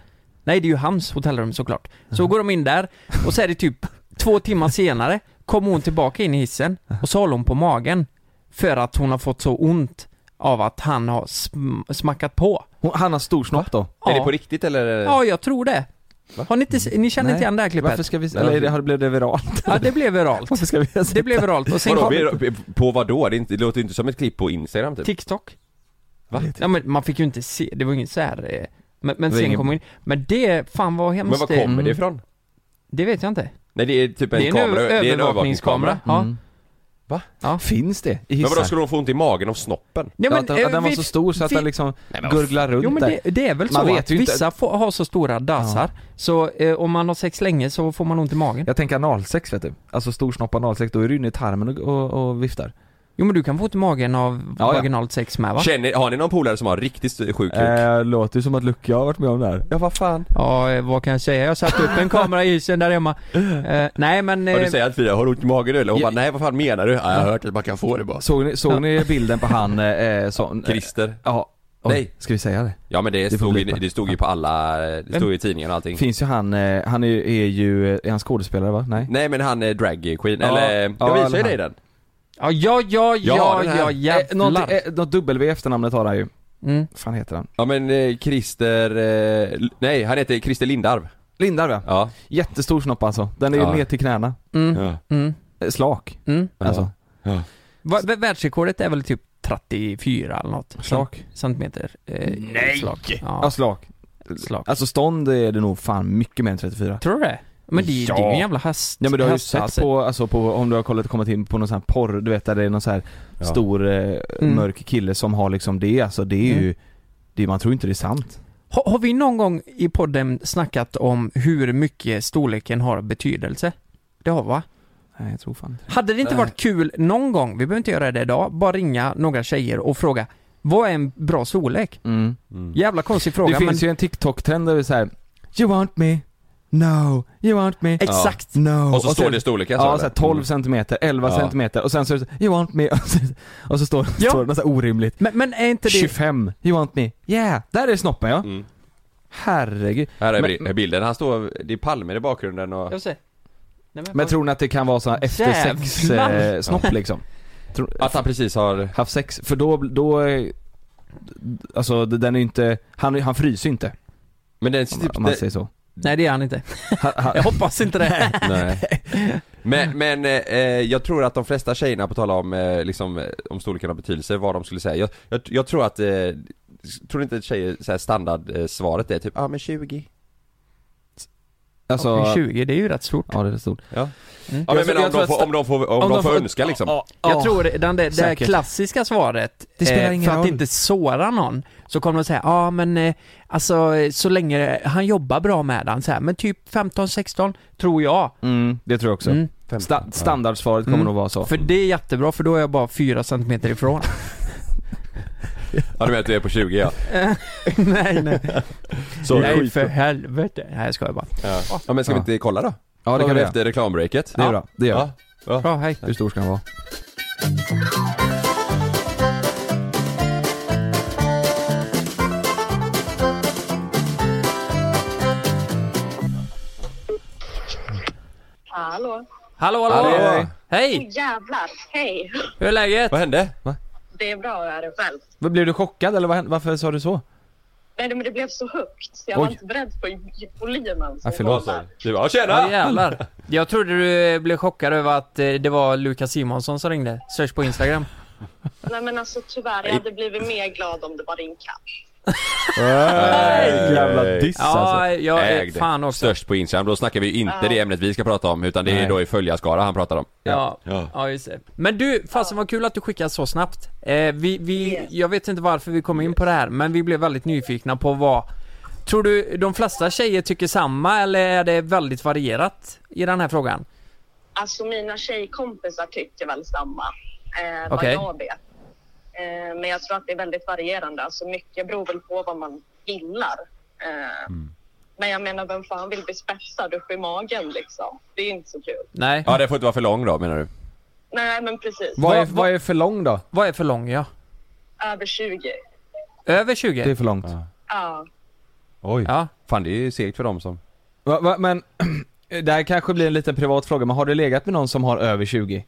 Nej, det är ju hans hotellrum såklart. Så går de in där, och så är det typ två timmar senare, kommer hon tillbaka in i hissen, och så håller hon på magen. För att hon har fått så ont av att han har sm- smackat på.
Hon, han har stor snopp då?
Är det på riktigt eller?
Ja, jag tror det. Har ni inte, ni känner inte igen det här klippet?
Varför ska vi, eller är det, har det blivit viralt?
Ja, det blev viralt.
Varför ska vi ens-
Det blev viralt. Och sen
Vadå,
kom
vi- på vad då? Det, är inte, det låter ju inte som ett klipp på Instagram typ.
TikTok. Ja, men man fick ju inte se, det var ju inget så här. eh, Men, men
Det var
sen
ingen-
kom in. Men det, fan vad hemskt
Men var
det är.
Mm.
kommer det ifrån?
Det vet jag inte.
Nej det är typ en
Det är en
kamera,
övervakningskamera. Ja.
Mm.
Va?
Finns det i
Men
hissar?
vadå, skulle de få ont i magen av snoppen?
Nej,
ja, att, den-
eh,
att den var
vi-
så stor så att
vi-
den liksom
Nej, men vad
gurglar runt
Jo men
där.
det, det är väl
Man
så
vet
att
ju inte.
vissa får, har så stora dassar, så eh, om man har sex länge så får man ont i magen.
Jag tänker analsex vet du. Alltså storsnopp analsex, då är du inne i tarmen och, och, och viftar.
Jo men du kan få ont i magen av
Ja, ja.
vaginalt sex med va?
Känner, har ni någon polare som har riktigt sjuk kuk?
Eh, låter ju som att Luke jag har varit med om det här. Ja vad fan.
Ja, eh, vad kan jag säga? Jag satte upp en kamera i hissen där hemma. Eh, nej men...
Har
eh,
du säger att vi har ont i magen eller? Hon
Ja.
bara, nej vad fan menar du? Ja, jag har hört att man kan få det bara.
Såg ni, såg ni bilden på han eh, som...
Christer.
Ja. Oj,
Nej.
Ska vi säga det?
Ja men det,
får
stod, ju-
blipa.
det stod ju på alla, det stod ju i tidningarna och allting.
Finns ju han, eh, han är, är ju, eh, är han skådespelare va? Nej?
Nej men han är drag queen,
Ja.
eller jag
Ja,
visade
eller
ju dig
han.
den.
Ja, ja, ja, ja,
Ja, den här.
ja,
Eh, något,
jävlar.
eh, något W i efternamnet har han ju.
Mm.
fan heter han?
Ja men eh, Christer, eh, l- nej han heter Christer Lindarv.
Lindarw ja.
Ja.
Jättestor snopp alltså. Den är ju
Ja.
ner till knäna.
Mm.
Ja.
Mm.
Eh, Slak.
Mm.
Alltså.
Va- va- Världsrekordet är väl typ 34 eller något?
Slak.
Centimeter. Eh, Nej! Alltså, Slak.
Ja,
Ja,
slak.
slak.
Alltså stånd är det nog fan mycket mer än 34.
Tror du det? Men det, det är ju en jävla hast.
Ja men du har ju
hast-
sett
alltså.
på, alltså på, om du har kollat, kommit in på någon sån här porr, du vet där det är någon sån här
Ja.
stor eh,
Mm.
mörk kille som har liksom det, alltså det är ju, det, man tror inte det är sant.
Har, har vi någon gång i podden snackat om hur mycket storleken har betydelse? Det har vi, va?
Nej jag tror fan inte det.
Hade det inte varit kul någon gång, vi behöver inte göra det idag, bara ringa några tjejer och fråga Vad är en bra storlek?
Mm.
Jävla konstig
Det
fråga men
finns ju en TikTok-trend där det är så här. You want me? No. You want me?
Exakt!
No.
Och så står det storleken
Ja,
så,
så här
eller?
12 centimeter, 11
Ja.
centimeter och sen så är det så, här, You want me? och så står,
Ja.
står det något så här orimligt.
Men, men är inte det...
25, you want me? Yeah! Där är snoppen ja.
Mm.
Herregud.
Här är
Men-
bri- bilden, han står, det är palmer i bakgrunden och...
Jag ser. Nej,
Men tror ni att det kan vara så här efter sex
Jävlar.
eh, snopp liksom? Tror-
Att han precis har...
haft sex, för då, då eh, Alltså d- den är ju inte, han, han fryser ju inte
Men den...
om,
Typ,
om man
den
säger så
Nej det är han inte.
han, han,
Jag hoppas inte det.
nej. Men, men eh, eh, jag tror att de flesta tjejerna, på tal om eh, liksom, eh, om storleken har betydelse, vad de skulle säga. Jag, jag, jag tror att, eh, tror inte att tjejer, så här standardsvaret är typ, ja ah, men 20.
Alltså,
20, det är ju rätt stort.
ja det är stort
Ja.
Mm.
Ja, men,
Jag tror-
men om,
jag tror
de
att
får,
sta-
om de får, om, de får önska liksom.
Ja, ja,
Jag tror den där, det här
säkert.
klassiska svaret, eh,
Det spelar ingen
för att
roll.
inte såra någon, så kommer de säga ja ah, men eh, alltså eh, så länge han jobbar bra med den så här, men typ 15-16 tror jag.
mm, det tror jag också
Mm.
Sta Standardsvaret kommer
Mm.
nog vara så
För det är jättebra för då är jag bara 4 cm ifrån.
Ja du menar att du är på 20 ja.
nej nej.
Så,
nej för helvete. Nej jag skojar bara.
ja. ja men ska vi inte kolla då?
Ja det
Kollar
kan
vi
vi göra,
efter reklambreaket.
det är bra, det gör vi.
Ja. Ja.
Bra, hej.
Hur stor ska han vara?
Hallå?
Hallå hallå!
Hallå.
Hej!
Jävlar, hej!
Hur är läget?
Vad hände?
Det är bra att höra det själv.
Vad, Blev du chockad eller vad, hände- varför sa du så?
Nej, men det blev så högt så jag var
Oj.
inte beredd på volymen. som
Ja, förlåt.
var där.
Du bara, "Ja,
Ja
tjena!
jävlar. Jag trodde du blev chockad över att eh, det var Lukas Simonsson som ringde. Search på Instagram.
Nej, men alltså tyvärr, jag hade blivit mer glad om det var din katt.
Nej.
Jävla diss alltså
Ja, jag är
Ägd.
fan också.
Störst på Instagram, då snackar vi ju inte
Ja.
det ämnet vi ska prata om utan det
Nej.
är då i följarskara han pratar om.
Ja, ja. just det. Men du, fasen vad kul att du skickade så snabbt. Eh, vi, vi, jag vet inte varför vi kom in på det här, men vi blev väldigt nyfikna på vad... Tror du de flesta tjejer tycker samma, eller är det väldigt varierat i den här frågan?
Alltså mina tjejkompisar tycker väl samma, eh, vad
Okej.
jag vet. Eh, men jag tror att det är väldigt varierande. Alltså mycket beror väl på vad man gillar. Eh,
Mm.
Men jag menar, vem fan vill bli spetsad upp i magen liksom? Det är inte så kul.
Nej.
Ja det får inte vara för lång då menar du?
Nej, men precis.
vad är, vad är för lång då?
Vad är för lång, ja?
Över 20.
Över
Det är
20?
för långt
Ja.
Oj.
Ja.
Fan det är ju segt för dem som...
Va, va, men, det här kanske blir en liten privat fråga, men har du legat med någon som har över 20?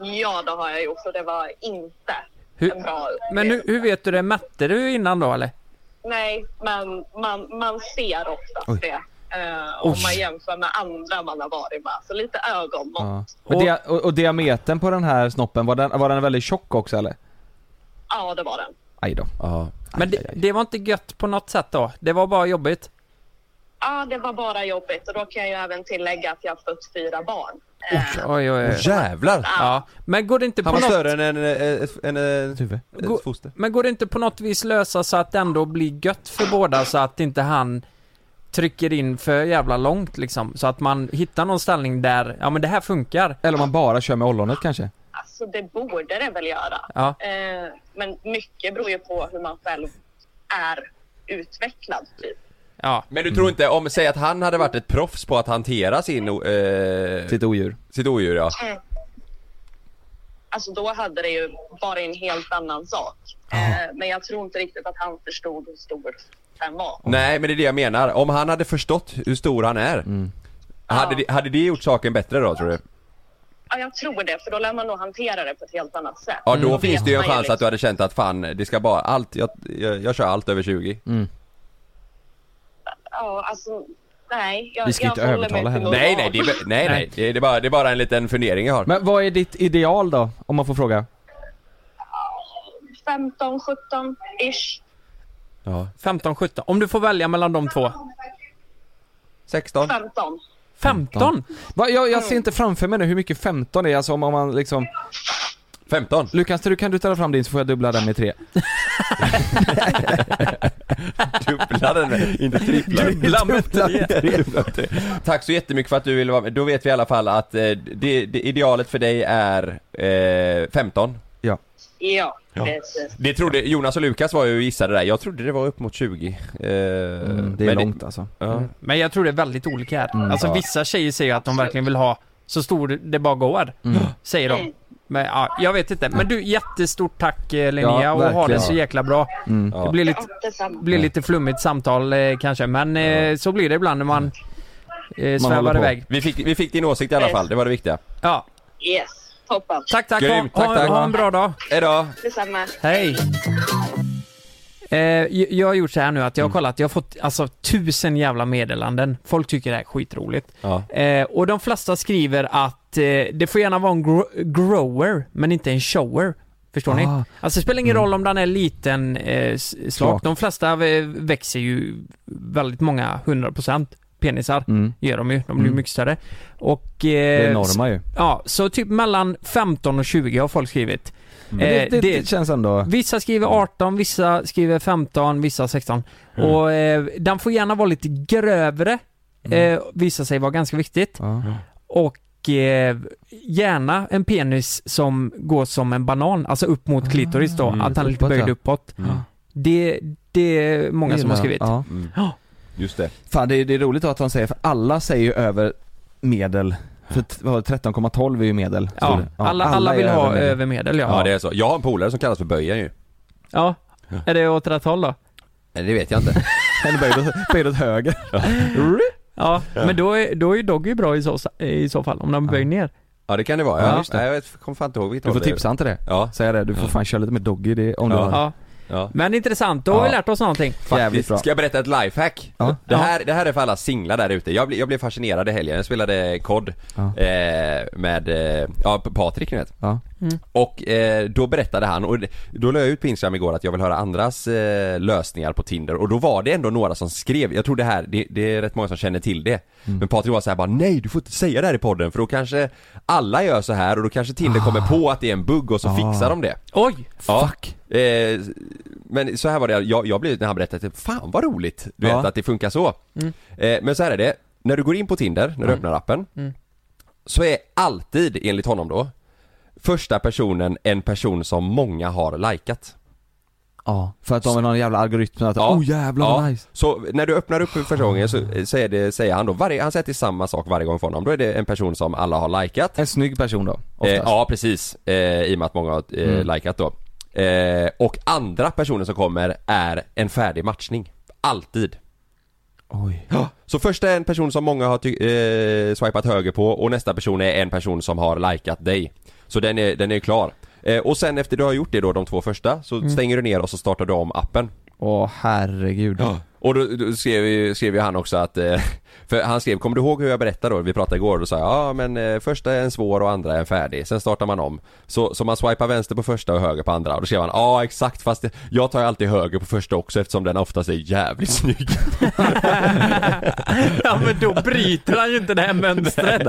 Ja, det har jag gjort och det var inte
Hur-
en bra
Men hur, hur vet du det? Mätte du innan då, eller?
Nej, men man, man ser oftast
Oj.
det. eh, om
Oj.
man jämför med andra man har varit med. Så lite ögonmått.
Ja.
Ja.
Men
Och-
dia- och, och diametern på den här snoppen, var den, var den väldigt tjock också eller?
det var den.
Aj då.
Ja.
Men det, det var inte gött på något sätt då? Det var bara jobbigt?
Ja, det var bara jobbigt. Och då kan jag ju även tillägga att jag har fött fyra barn. Eh,
Oj,
Oj, oj, oj.
jävlar!
Ja. Men går det inte på
Han var
något...
större än en, eh, ett, en, eh, ett,
Huvud.
Gå-
foster.
Men går det inte på något vis lösa så att det ändå blir gött för båda så att inte han trycker in för jävla långt liksom? Så att man hittar någon ställning där, ja men det här funkar.
Eller om man bara kör med ollonet kanske?
Alltså det borde det väl göra.
Ja.
Eh, men mycket beror ju på hur man själv är utvecklad. Typ.
Ja.
Men du tror inte, om, säg att han hade varit ett proffs på att hantera sin, eh, sitt,
Sitt odjur.
sitt odjur ja.
Alltså då hade det ju varit en helt annan sak. Eh, men jag tror inte riktigt att han förstod hur stor den var.
Nej men det är det jag menar, om han hade förstått hur stor han är
Mm.
hade, det, hade det gjort saken bättre då tror du?
Ja, jag tror det, för då lär man nog hantera det på ett helt annat sätt. Mm.
Ja
Mm.
då finns det ju en
Vet man
chans att du hade känt att fan, det ska bara, allt, jag, jag, jag kör allt över 20
Ja, alltså, nej. Jag,
Vi ska
jag
inte
håller mig
övertala
till
henne.
moral.
Nej nej, det är, väl- nej, nej. Det, är, det, är bara, det är bara en liten fundering jag har
Men vad är ditt ideal då? Om man får fråga.
15, 17 ish.
15, 17. Om du får välja mellan de två.
16?
15.
15?
Va, jag, jag ser inte framför mig nu hur mycket 15 är, alltså om, om man liksom...
15?
Lukas, du kan du ta fram din så får jag dubbla den med tre.
Dubbla den, inte trippla Dubbla med tre. Dubbla med tre. Tack så jättemycket för att du ville vara med, då vet vi i alla fall att eh, det, det, idealet för dig är eh, 15
Ja.
Ja, precis.
Det trodde, Jonas och Lukas var ju och gissade där, jag trodde det var upp mot 20 eh,
Mm,
men
det är långt alltså.
ja.
Men jag tror det är väldigt olika här.
Mm.
alltså vissa tjejer säger att de verkligen vill ha så stor det bara går.
Mm.
Säger de. Men ja, jag vet inte. Men du, jättestort tack eh, Linnea
Ja,
och ha det
verkligen. Mm.
så jäkla bra. Det blir lite,
Ja, detsamma.
blir lite flummigt samtal eh, kanske, men eh, så blir det ibland när man eh,
håller
svävar
på.
iväg.
Vi fick, vi fick din åsikt i alla fall, det var det viktiga.
Ja,
Yes, toppen.
tack tack.
Grymt,
ha,
tack,
ha,
tack.
ha en bra dag.
Hejdå!
Detsamma.
Hej! Eh, jag- jag har gjort så här nu att jag har kollat, jag har fått alltså tusen jävla meddelanden. Folk tycker det här är skitroligt.
Ja.
Eh, och de flesta skriver att eh, det får gärna vara en gro- grower, men inte en shower. Förstår ni?
Ah.
Alltså det spelar ingen roll om den är liten eh, s- slak.
Slak.
De flesta eh, växer ju väldigt många, 100% penisar.
Mm.
Gör de ju, de blir ju mycket större. Och... Eh,
Det är enorma ju.
Ja, så typ mellan 15 och 20 har folk skrivit. Eh,
Mm. Det, det, det känns ändå...
Vissa skriver 18, vissa skriver 15, vissa 16.
Mm.
Och eh, den får gärna vara lite grövre,
Mm.
eh, visar sig vara ganska viktigt.
Ja.
Och eh, gärna en penis som går som en banan, alltså upp
Ah.
mot klitoris
Mm.
då, att han är lite
Uppåt,
böjd
ja.
uppåt. Det, det är många som har skrivit.
Mm. Ja.
Just det.
Fan det är, det är roligt att han säger, för alla säger ju över medel. För t- vad var det, 13,12 är ju medel.
Ja,
stod det. Ja,
alla, alla
är
vill ha
medel.
övermedel ja.
Ja, det är så. Jag har en polare som kallas för böjen ju.
ja. Är det åt rätt håll då?
Nej, det vet jag inte.
Eller böjd åt, böjd åt höger.
Ja, men då är, då är doggy bra i så, i så fall, om de böjer ner.
Ja, det kan det vara.
Ja,
Ja,
just det.
Nej, jag vet, kommer fan inte ihåg vilket
Du får
håll det är.
tipsa han till det.
Ja,
Säga det, du får fan köra lite med Doggy det, om du
Ja.
har
Ja.
ja.
Men intressant, då har vi
Ja.
lärt oss någonting.
Jävligt bra.
Ska jag berätta ett lifehack?
Ja.
Det, här, det här är för alla singlar där ute. Jag, blev- jag blev fascinerad i helgen. Jag spelade kod
Ja.
eh, med, eh, ja, Patrik ni vet.
Ja.
Och eh, då berättade han, och det- då la jag ut på Instagram igår att jag vill höra andras eh, lösningar på Tinder och då var det ändå några som skrev, jag tror det här, det, det är rätt många som känner till det
Mm.
Men Patrik var så här bara nej du får inte säga det här i podden för då kanske alla gör så här och då kanske Tinder kommer
Ah.
på att det är en bugg och så fixar de det
Oj!
Fuck! Eh, men så här var det, jag, jag blev när han berättade, typ, fan vad roligt! Du
Ja.
vet att det funkar så. Eh, men så här är det, när du går in på Tinder, när du öppnar appen, så är alltid, enligt honom då, första personen en person som många har likat.
Ja, för att de vill ha en jävla algoritm att oh jävlar vad nice. Ah.
Så när du öppnar upp för första gången så, så är det, säger han då, varje, han säger till samma sak varje gång för honom, då är det en person som alla har likat.
En snygg person då, oftast.
Eh, ja precis, eh, i och med att många har eh, likat då. Eh, och andra personer som kommer är en färdig matchning. Alltid.
Oj.
Så först är en person som många har ty- eh, swipat höger på och nästa person är en person som har likat dig. Så den är, den är klar. Eh, och sen efter du har gjort det då, de två första, så stänger du ner och så startar du om appen.
Åh herregud.
Och då, då skrev, ju, skrev ju han också att, eh, för han skrev 'Kommer du ihåg hur jag berättade då?' Vi pratade igår och då sa jag 'Ja men eh, första är en svår och andra är en färdig, sen startar man om' Så, så man swipar vänster på första och höger på andra och då skrev han 'Ja exakt fast det, jag tar ju alltid höger på första också eftersom den oftast är jävligt snygg'
ja men då bryter han ju inte det här mönstret.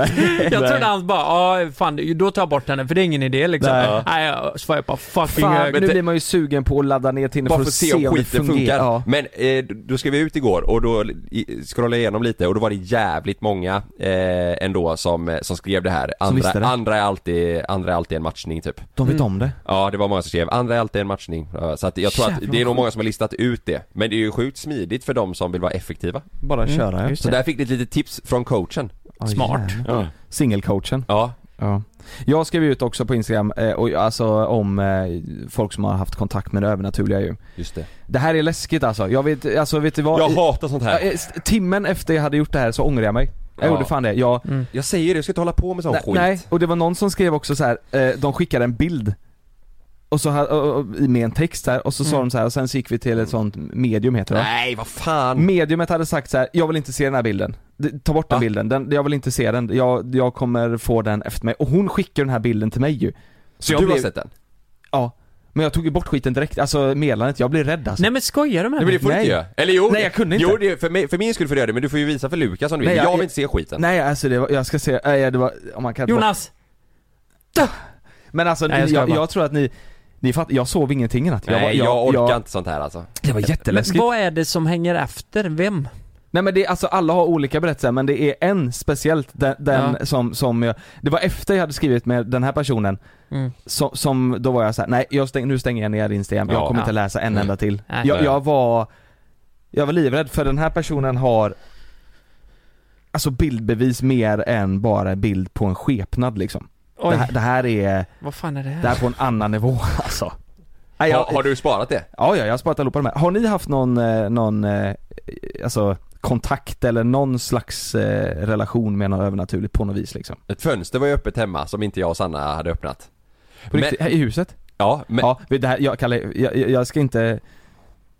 jag trodde han bara, ja fan då tar jag bort henne för det är ingen idé liksom.
Nej.
Nej, jag svarar bara fucking
Fan,
höger.
nu blir man ju sugen på att ladda ner Tinder
Bara
för att se om det
skiten
fungerar.
funkar.
Ja.
Men eh, då skrev vi ut igår och då i- scrollade jag igenom lite och då var det jävligt många eh, ändå som, eh, som skrev det här. Andra,
visste det.
andra, är alltid, andra är alltid en matchning typ.
De
Mm.
vet om det.
Ja det var många som skrev, andra är alltid en matchning. Ja, Så att jag tror att
Jävlar,
det är
vad
nog många som har listat ut det. Men det är ju sjukt smidigt för de som vill vara effektiva.
Bara köra ja.
Mm. just
Så där fick ni ett litet tips från coachen.
Ja,
Smart.
jävlar.
Ja.
Singelcoachen.
Ja.
Ja. Jag skrev ut också på Instagram, eh, och, alltså om eh, folk som har haft kontakt med det övernaturliga ju.
Just det.
Det här är läskigt alltså. Jag vet, alltså vet du vad?
Jag
I-
hatar sånt
Ja,
här.
eh, s- Timmen efter jag hade gjort det här så ångrar jag mig. Jag
Ja.
gjorde fan det. Jag,
Jag säger det, jag ska inte hålla på med sån
nej,
skit.
nej, och det var någon som skrev också så här. Eh, de skickade en bild. Och så ha- och, och, med en text här, och så sa de så här, och sen så gick vi till ett sånt medium heter det va?
Nej, vad fan.
Mediumet hade sagt så här: jag vill inte se den här bilden. D- Ta bort den
Va?
bilden, den, jag vill inte se den, jag, jag kommer få den efter mig. Och hon skickar den här bilden till mig ju.
Så
jag
du har
blev-
sett den?
Ja. Men jag tog ju bort skiten direkt, alltså meddelandet, jag blir rädd alltså.
Nej men skojar du med
Nej men
mig?
det får du inte
Nej.
göra. Eller jo.
Nej, jag kunde inte.
Jo, det, för, mig, för min skull får du göra det, men du får ju visa för Lukas om du vill.
Nej,
jag,
jag-
vill inte se skiten.
Nej alltså det var, jag ska se, nej det var, om man kan inte
Jonas!
Men alltså
Nej, jag
jag,
skojar
jag,
bara.
tror att ni, ni fattar, jag sov ingenting i natt.
Nej,
var-
jag, orkar
jag-
inte sånt här alltså.
Det var
Men
jätteläskigt.
vad är det som hänger efter? Vem?
Nej men det, alltså alla har olika berättelser men det är en speciellt, den, den
Ja.
som, som jag, det var efter jag hade skrivit med den här personen
Mm.
som, som då var jag så här: nej jag stäng, nu stänger jag ner Instagram, jag
Ja.
kommer
Ja.
inte läsa en enda till.
Nej.
Jag, jag var, jag var livrädd för den här personen har Alltså bildbevis mer än bara bild på en skepnad liksom. Det
Oj,
här, det här är,
vad fan är det här?
det här är på en annan nivå alltså. Nej,
Har, har du sparat det?
Ja, ja, jag har sparat allihopa de här. Har ni haft någon, eh, någon eh, alltså, kontakt eller någon slags eh, relation med något övernaturligt på något vis liksom?
Ett fönster var ju öppet hemma som inte jag och Sanna hade öppnat.
På
Men-
riktigt, här I huset?
Ja, men
Ja, det här, jag, Kalle, jag, jag- jag ska inte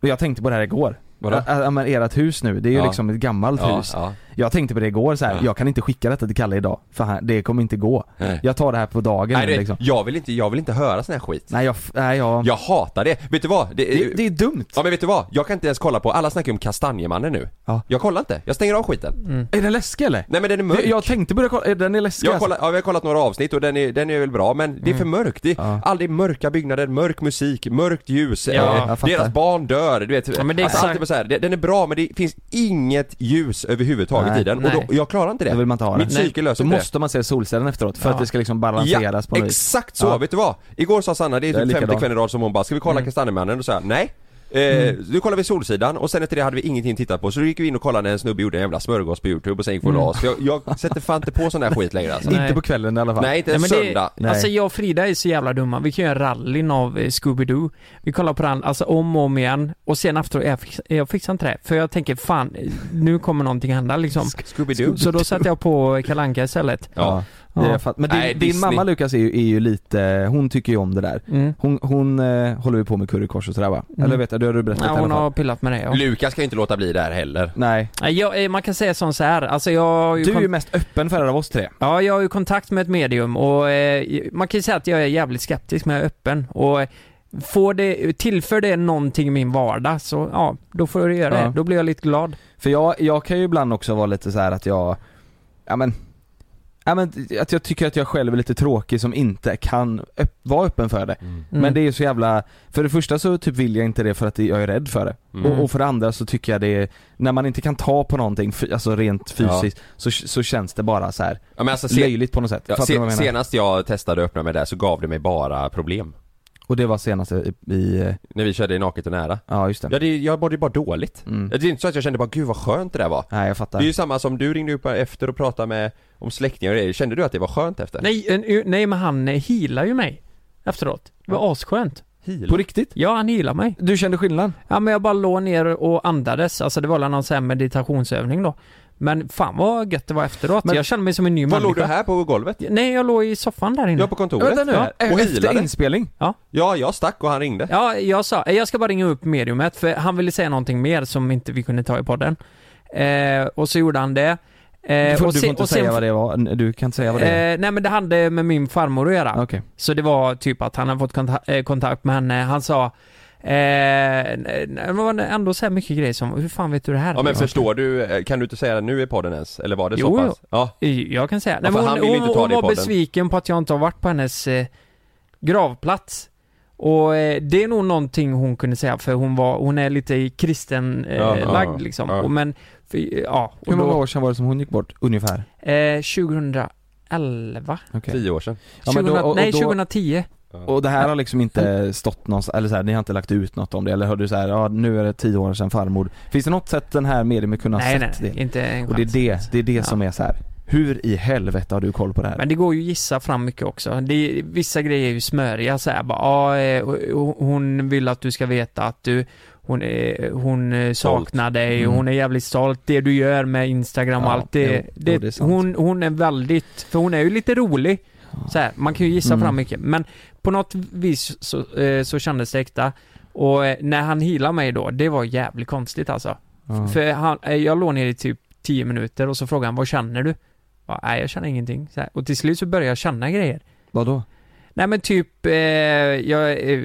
jag tänkte på det här igår.
Vadå?
Ja, Ja, men ert hus nu, det är ju
Ja.
liksom ett gammalt
Ja,
hus.
ja.
Jag tänkte på det igår så här.
Ja.
jag kan inte skicka detta till Kalle idag, för han, det kommer inte gå.
Nej.
Jag tar det här på dagen
Nej,
nu,
det,
liksom.
jag, vill inte, jag vill inte höra sån här skit.
Nej jag, f- nej jag,
Jag hatar det. Vet du vad? Det,
det, det är dumt.
Ja men vet du vad? Jag kan inte ens kolla på, alla snackar ju om Kastanjemannen nu.
Ja.
Jag kollar inte, jag stänger av skiten.
Är den läskig eller?
Nej men den är mörk.
Jag, jag tänkte börja kolla, den är läskig alltså.
Jag kollar, ja, vi har kollat några avsnitt och den är, den är väl bra men det är för mörkt. Det är
Mm. Ja.
aldrig mörka byggnader, mörk musik, mörkt ljus.
Ja,
eh,
jag fattar.
deras barn dör, du vet.
Ja, men det är
alltså,
exakt-
allt är bara så här, det- den är bra men det finns inget ljus överhuvudtaget
Nej.
i den och
Nej.
då, jag klarar inte det.
Då vill man inte ha
Mitt
den.
psyke löser
Så
inte
måste man se solcellen efteråt för att det ska liksom balanseras på något vis.
exakt så!
Ja.
Vet du vad? Igår sa Sanna, det är
Jag är
typ femte
likadan. Mm.
kvällen i rad som hon bara 'Ska vi kolla Kastanjemannen?' och sa nej Eh, Nu kollar vi Solsidan och sen efter det hade vi ingenting att titta på så då gick vi in och kollade när en snubbe gjorde en jävla smörgås på youtube och sen gick vi och la oss. För jag, jag sätter fan inte på sån här skit längre alltså.
Nej.
Inte på kvällen Mm. i alla fall.
Nej inte
Nej,
en
men
söndag.
Det, alltså
Nej.
jag och Frida är så jävla dumma. Vi kan göra rallyn av eh, Scooby-Doo. Vi kollar på den, alltså om och om igen. Och sen efteråt, jag, fix, jag fixar inte det. För jag tänker fan, eh, nu kommer någonting hända liksom.
Scooby-Doo.
Så då satte jag på Kalle Anka istället.
Ja.
Ja.
Ja.
Det är fatt- Men din,
Nej,
din
Disney.
mamma Lukas är ju, är ju lite, hon tycker ju om det där.
Mm.
Hon, hon eh, håller ju på med currykors och sådär va? Eller vet jag, det har du berättat
Ja,
i alla
hon
fall.
har pillat med det ja.
Lukas kan ju inte låta bli där heller.
Nej.
Nej, jag, eh, man kan säga som så här, alltså jag har ju
Du är
kon-
ju mest öppen för det av oss tre.
Ja, jag har ju kontakt med ett medium och eh, man kan ju säga att jag är jävligt skeptisk men jag är öppen och eh, får det, tillför det någonting i min vardag så ja, då får det göra
Ja.
det. Då blir jag lite glad.
För jag, jag kan ju ibland också vara lite så här att jag, ja men, ja men att jag tycker att jag själv är lite tråkig som inte kan öpp- vara öppen för det.
Mm.
Men det är ju så jävla, för det första så typ vill jag inte det för att jag är rädd för det.
Mm.
Och, och för det andra så tycker jag det är, när man inte kan ta på någonting, fy- alltså rent fysiskt, så, så känns det bara så här
Ja, men alltså, se,
löjligt på något sätt.
ja,
Fattar du vad
se,
jag menar?
senast jag testade att öppna mig där så gav det mig bara problem.
Och det var senast i, i
När vi körde i Naket och nära.
ja just det.
Ja, det, jag mådde ju bara dåligt.
Mm.
Det är inte så att jag kände bara 'Gud vad skönt det där var'
Nej jag
Det är ju
fattar.
samma som du ringde upp efter och pratade med om släktingar och det. Kände du att det var skönt efter?
Nej, en, u- nej men han eh, healar ju mig efteråt. Det var asskönt.
På riktigt?
Ja, han healar mig.
Du kände skillnad?
Ja men jag bara låg ner och andades, alltså det var väl någon sån här meditationsövning då. Men fan vad gött det var efteråt.
Men-
jag kände mig som en ny
Var låg du
människa.
här på golvet?
Nej, jag låg i soffan där inne.
Jag på kontoret?
Vänta nu,
ja. Och
efter
healade?
inspelning?
Ja, jag stack och han ringde.
Ja, jag sa, eh, jag ska bara ringa upp mediumet för han ville säga någonting mer som inte vi kunde ta i podden. Eh, och så gjorde han det. Eh,
Du får,
och
du
se-
får inte
och sen-
säga vad det var, du kan inte säga vad det är.
Eh, nej men det hade med min farmor att göra.
Okej.
Så det var typ att han hade fått konta- eh, kontakt med henne. Han sa Eh, det var ändå så här mycket grejer som, hur fan vet du det här?
Ja men förstår du, eh, kan du inte säga det nu i podden ens? Eller var det så
Jo,
pass? Ja,
Jag kan säga. Nej,
Ja,
men
för
hon
han vill ju
hon,
inte ta
hon
det i
var
podden.
besviken på att jag inte har varit på hennes eh, gravplats. Och eh, det är nog någonting hon kunde säga för hon var, hon är lite kristen eh,
Ja, ja,
lagd liksom.
ja.
Och men, för, ja. Och
Hur många
då,
år sedan var det som hon gick bort, ungefär?
eh, 2011?
Okej.
tio år sedan.
Ja, men då-
2000
och- och
nej,
då-
2010.
Och det här har liksom inte stått någonstans, eller så här, ni har inte lagt ut något om det, eller hörde du så här, ja nu är det tio år sedan farmor. Finns det något sätt den här medien kunna ha
Nej, nej,
sett det?
inte en
Och det är
chans.
det, det är det
Ja.
som är så här. hur i helvete har du koll på det här?
Men det går ju att gissa fram mycket också. Det är, vissa grejer är ju smöriga så här, bara, ah, eh, hon- hon vill att du ska veta att du, hon, eh, hon eh, saknar dig och
Mm.
hon är jävligt stolt. Det du gör med Instagram och
Ja,
allt det,
jo,
det,
jo, det är sant.
hon, hon är väldigt, för hon är ju lite rolig. Så här, man kan ju gissa
Mm.
fram mycket. Men på något vis så, eh, så kändes det äkta. Och eh, när han healade mig då, det var jävligt konstigt alltså.
Ja.
För han, eh, jag låg ner i typ 10 minuter och så frågade han vad känner du? Ja, nej jag känner ingenting. Så här. Och till slut så började jag känna grejer.
Vadå?
Nej men typ, eh, jag, eh,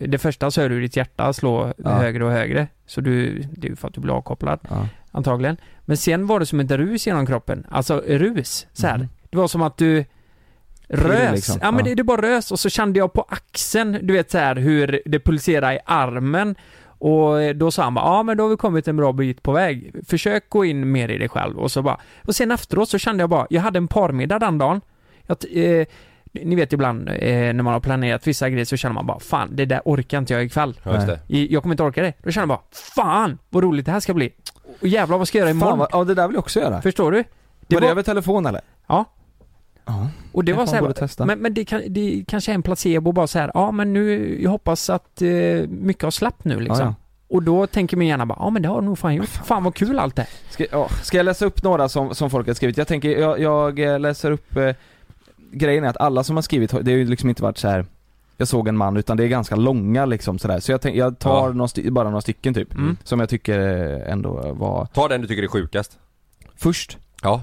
det första så hör du ditt hjärta slå
Ja.
högre och högre. Så du, det är ju för att du blir avkopplad
Ja.
antagligen. Men sen var det som ett rus genom kroppen. Alltså rus, så här.
Mhm.
Det var som att du rös.
liksom.
Ja men
Ja.
det, det bara rös och så kände jag på axeln, du vet så här hur det pulserar i armen. Och eh, då sa han bara, ja men då har vi kommit en bra bit på väg. Försök gå in mer i dig själv och så bara. Och sen efteråt så kände jag bara, jag hade en parmiddag den dagen. Jag, t- eh, ni vet ibland eh, när man har planerat vissa grejer så känner man bara, fan det där orkar inte jag ikväll.
Ja, just
Nej.
det.
I- Jag kommer inte orka det. Då känner jag bara, fan vad roligt det här ska bli. Och jävlar vad ska jag göra imorgon?
Fan, vad, ja det där vill jag också göra.
Förstår du?
var det över telefon eller?
Ja.
Ja.
Och det
Kanske
var
man
så
borde
här,
testa.
men, men det, kan, det kanske är en placebo bara så här, ja men nu, jag hoppas att eh, mycket har släppt nu liksom.
Ja,
Och då tänker min hjärna bara, ja men det har nog fan gjort. Fan vad kul allt det här.
ja. Ska, ja. Ska jag läsa upp några som, som folk har skrivit? Jag tänker, jag, jag eh, läser upp eh, Grejen är att alla som har skrivit, har- det har ju liksom inte varit så här. Jag såg en man, utan det är ganska långa liksom sådär. Så jag, tänk, jag tar
Ja.
några sty- bara några stycken typ,
Mm.
som jag tycker eh, ändå var
Ta den du tycker är sjukast.
Först,
Ja.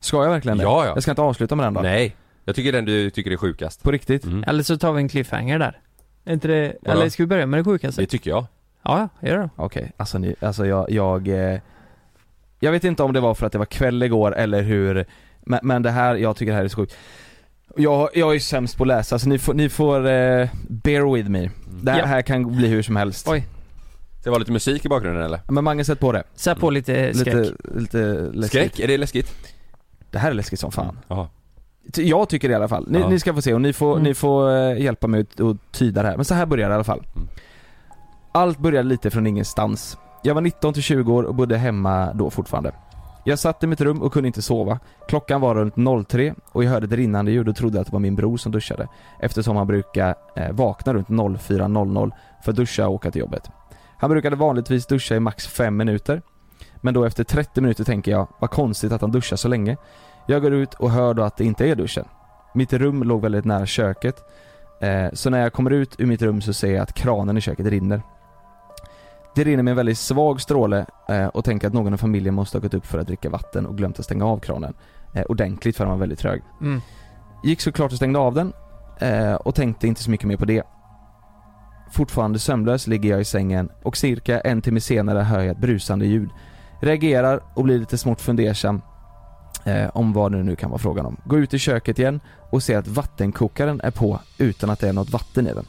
ska jag verkligen det?
Ja, ja.
Jag ska inte avsluta med den då?
Nej. Jag tycker den du tycker är sjukast.
På riktigt?
Mm.
Eller så tar vi en cliffhanger där. Är inte det,
Vadå?
eller ska vi börja med det sjukaste?
Det tycker jag.
Ja, ja, gör det
Okej, alltså ni, alltså jag, jag eh, Jag vet inte om det var för att det var kväll igår eller hur Men, men det här, jag tycker det här är så sjukt jag, jag är sämst på att läsa så ni får, ni får eh, bear with me Det här,
Ja.
här kan bli hur som helst
Oj.
Ska det vara lite musik i bakgrunden eller?
Men Mange sätt på det,
Sätt på lite skräck.
lite, lite läskigt
Skräck? Är det läskigt?
Det här är läskigt som fan
Ja.
Ty- Jag tycker det i alla fall. Ni,
Ja.
ni ska få se och ni får,
Mm.
ni får eh, hjälpa mig ut och tyda det här. Men så här börjar det i alla fall.
Mm.
Allt började lite från ingenstans. Jag var 19 till 20 år och bodde hemma då fortfarande. Jag satt i mitt rum och kunde inte sova. Klockan var runt 03 och jag hörde ett rinnande ljud och trodde att det var min bror som duschade. Eftersom han brukar eh, vakna runt 04.00 för att duscha och åka till jobbet. Han brukade vanligtvis duscha i max 5 minuter. Men då efter 30 minuter tänker jag, vad konstigt att han duschar så länge. Jag går ut och hör då att det inte är duschen. Mitt rum låg väldigt nära köket. Eh, Så när jag kommer ut ur mitt rum så ser jag att kranen i köket rinner. Det rinner med en väldigt svag stråle eh, och tänker att någon i familjen måste ha gått upp för att dricka vatten och glömt att stänga av kranen eh, ordentligt för den var väldigt trög.
Mm.
Gick såklart och stängde av den eh, och tänkte inte så mycket mer på det. Fortfarande sömnlös ligger jag i sängen och cirka en timme senare hör jag ett brusande ljud. Reagerar och blir lite smått fundersam eh, om vad det nu kan vara frågan om. Går ut i köket igen och ser att vattenkokaren är på utan att det är något vatten i den.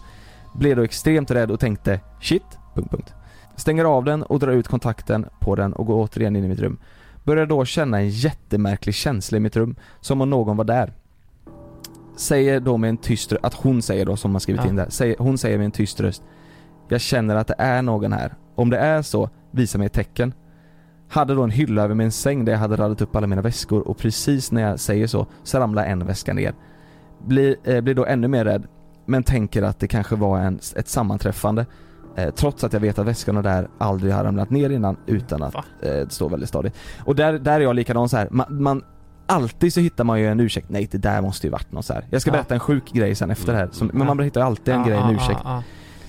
Blev då extremt rädd och tänkte shit, punkt, punkt. Stänger av den och drar ut kontakten på den och går återigen in i mitt rum. Börjar då känna en jättemärklig känsla i mitt rum, som om någon var där. Säger då med en tyst röst, att hon säger då som man skrivit
Ja.
in där, säger, hon säger med en tyst röst Jag känner att det är någon här. Om det är så, visa mig ett tecken. Hade då en hylla över min säng där jag hade radat upp alla mina väskor och precis när jag säger så, så ramlar en väska ner. Blir, eh, blir då ännu mer rädd, men tänker att det kanske var en, ett sammanträffande Eh, trots att jag vet att väskorna där aldrig har ramlat ner innan utan att
Va?
eh, stå väldigt stadigt. Och där, där är jag likadan så här. Man, man, alltid så hittar man ju en ursäkt. Nej det där måste ju varit något så här. Jag ska
Ja.
berätta en sjuk grej sen efter det här. Som, men
Ja.
man hittar ju alltid en
Ja,
grej, en
ja,
ursäkt.
ja,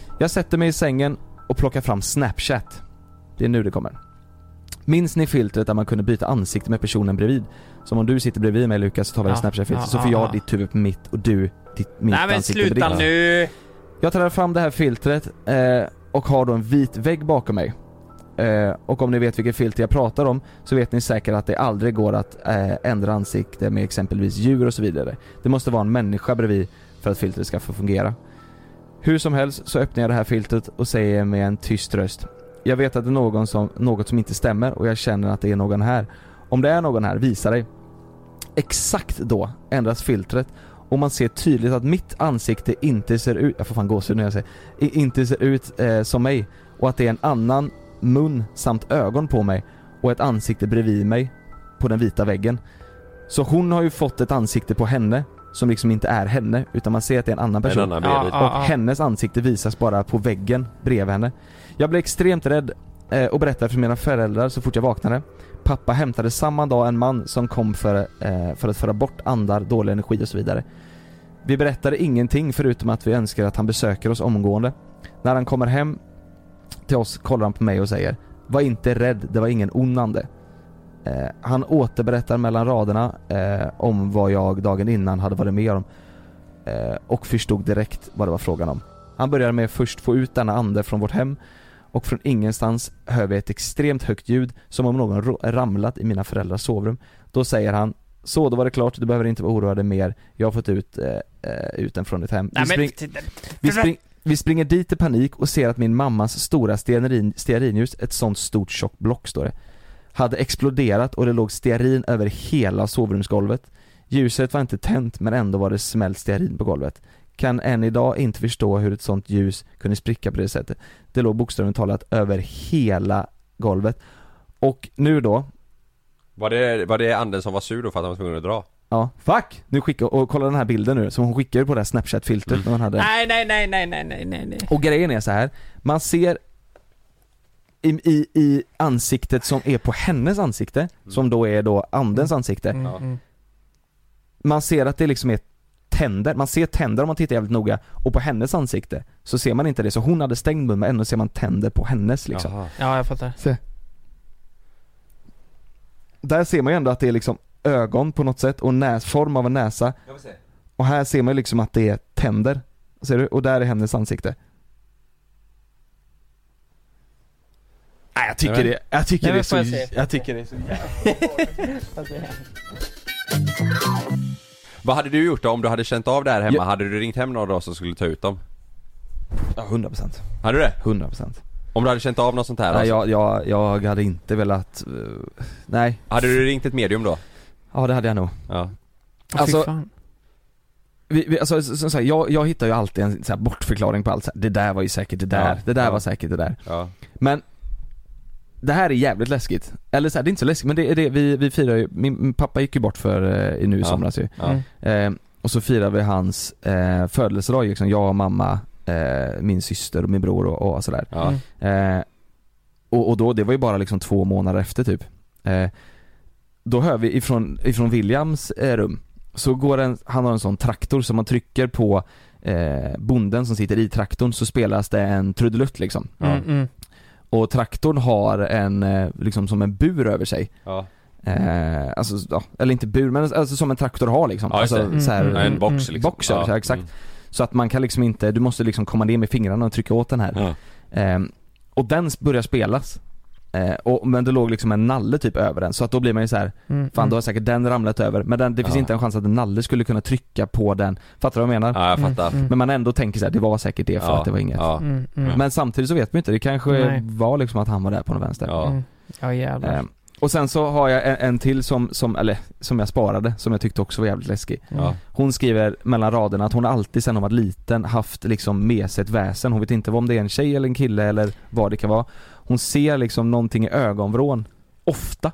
ja.
Jag sätter mig i sängen och plockar fram Snapchat. Det är nu det kommer. Minns ni filtret där man kunde byta ansikte med personen bredvid? Som om du sitter bredvid mig Lukas så tar vi
Ja,
det Snapchat-filtret
ja,
så får
ja,
jag
ja.
ditt huvud på mitt och du ditt, mitt
Nej men
ansikte på ditt.
sluta nu!
Jag tar fram det här filtret eh, och har då en vit vägg bakom mig. Eh, och om ni vet vilket filter jag pratar om så vet ni säkert att det aldrig går att eh, ändra ansikte med exempelvis djur och så vidare. Det måste vara en människa bredvid för att filtret ska få fungera. Hur som helst så öppnar jag det här filtret och säger med en tyst röst. Jag vet att det är någon som, något som inte stämmer och jag känner att det är någon här. Om det är någon här, visa dig. Exakt då ändras filtret och man ser tydligt att mitt ansikte inte ser ut, jag får fan gåshud när jag säger, i- inte ser ut eh, som mig och att det är en annan mun samt ögon på mig och ett ansikte bredvid mig på den vita väggen. Så hon har ju fått ett ansikte på henne som liksom inte är henne utan man ser att det är en annan person.
En annan
Ja,
bredvid.
ja.
Och hennes ansikte visas bara på väggen bredvid henne. Jag blev extremt rädd eh, och berättade för mina föräldrar så fort jag vaknade. Pappa hämtade samma dag en man som kom för, eh, för att föra bort andar, dålig energi och så vidare. Vi berättade ingenting förutom att vi önskar att han besöker oss omgående. När han kommer hem till oss kollar han på mig och säger Var inte rädd, det var ingen ond ande." Eh, han återberättar mellan raderna eh, om vad jag dagen innan hade varit med om eh, och förstod direkt vad det var frågan om. Han började med att först få ut denna ande från vårt hem och från ingenstans hör vi ett extremt högt ljud som om någon ro- ramlat i mina föräldrars sovrum. Då säger han så, då var det klart, du behöver inte vara oroad mer, jag har fått ut, eh, eh, ut den från ditt hem. Vi
Nej men...
spring- vi, spring, vi springer dit i panik och ser att min mammas stora stearin, stearinljus, ett sånt stort tjockt block står det, hade exploderat och det låg stearin över hela sovrumsgolvet. Ljuset var inte tänt men ändå var det smält stearin på golvet. Kan än idag inte förstå hur ett sånt ljus kunde spricka på det sättet. Det låg bokstavligt talat över hela golvet. Och nu då,
Var det, var det anden som var sur då för att han var tvungen att dra?
ja, fuck! Nu skickar, och kolla den här bilden nu som hon skickade på det här snapchat-filtret när hon hade
Nej nej nej nej nej nej nej nej.
Och grejen är så här, man ser i, i, i ansiktet som är på hennes ansikte, som då är då andens ansikte,
Ja.
man ser att det liksom är tänder, man ser tänder om man tittar jävligt noga och på hennes ansikte så ser man inte det, så hon hade stängd mun men ändå ser man tänder på hennes liksom.
Jaha.
Ja, jag fattar.
Där ser man ju ändå att det är liksom ögon på något sätt och näs, form av en näsa och här ser man ju liksom att det är tänder, ser du? Och där är hennes ansikte. Nej jag tycker
Nej, men-
det, jag tycker
Nej,
det är
men får
så,
jag se?
jag tycker det är så
Vad hade du gjort då om du hade känt av det här hemma? Hade du ringt hem någon då som skulle ta ut dem?
Ja, 100 procent.
Hade du det?
100 procent.
Om du hade känt av något sånt här
Nej,
alltså,
jag, jag, jag hade inte velat... eh, nej.
Hade du ringt ett medium då?
Ja, det hade jag nog.
Ja.
Åh, fy
Alltså-
fan.
Vi, vi, alltså, som sagt, jag, jag hittar ju alltid en så här, bortförklaring på allt. Så här, det där var ju säkert det där,
Ja,
det där
ja.
var säkert det där.
ja.
Men det här är jävligt läskigt. Eller så här, det är inte så läskigt men det är det, vi, vi firar ju, min, min pappa gick ju bort för, eh, i nu i
Ja.
somras ju.
Ja.
Mm.
Eh, och så firar vi hans eh, födelsedag liksom, jag, mamma, eh, min syster och min bror och, och sådär.
Ja.
Mm.
Eh, och, och då, det var ju bara liksom två månader efter typ. Eh, då hör vi ifrån, ifrån Williams eh, rum, så går en, han har en sån traktor som man trycker på eh, bonden som sitter i traktorn så spelas det en trudelutt liksom.
Mm, mm.
Och traktorn har en, eh, liksom som en bur över sig.
Ja.
Eh, alltså, ja, eller inte bur men alltså som en traktor har liksom.
Mm. Ja, just
alltså,
det.
så här,
Ja, en box liksom.
Box, ja,
ja.
exakt. Så att man kan liksom inte, du måste liksom komma ner med fingrarna och trycka åt den här.
Mm. Ja.
Ehm, och den s- börjar spelas. Eh, och, men det låg liksom en nalle typ över den, så att då blir man ju så här,
Mm,
fan
mm.
då har säkert den ramlat över. Men den, det finns
Ja.
inte en chans att en nalle skulle kunna trycka på den. Fattar du vad jag menar?
ja, jag fattar.
Mm,
Men man ändå tänker så här, det var säkert det för
Ja,
att det var inget.
Ja.
Mm, mm.
Men samtidigt så vet man ju inte, det kanske
Nej.
var liksom att han var där på någon vänster.
Ja.
Mm. Ja, jävlar.
Ehm, och sen så har jag en, en till som, som, eller som jag sparade, som jag tyckte också var jävligt läskig.
Mm.
Ja.
Hon skriver mellan raderna att hon alltid sen hon var liten haft liksom med sig ett väsen. Hon vet inte om det är en tjej eller en kille eller vad det kan vara. Hon ser liksom någonting i ögonvrån. Ofta.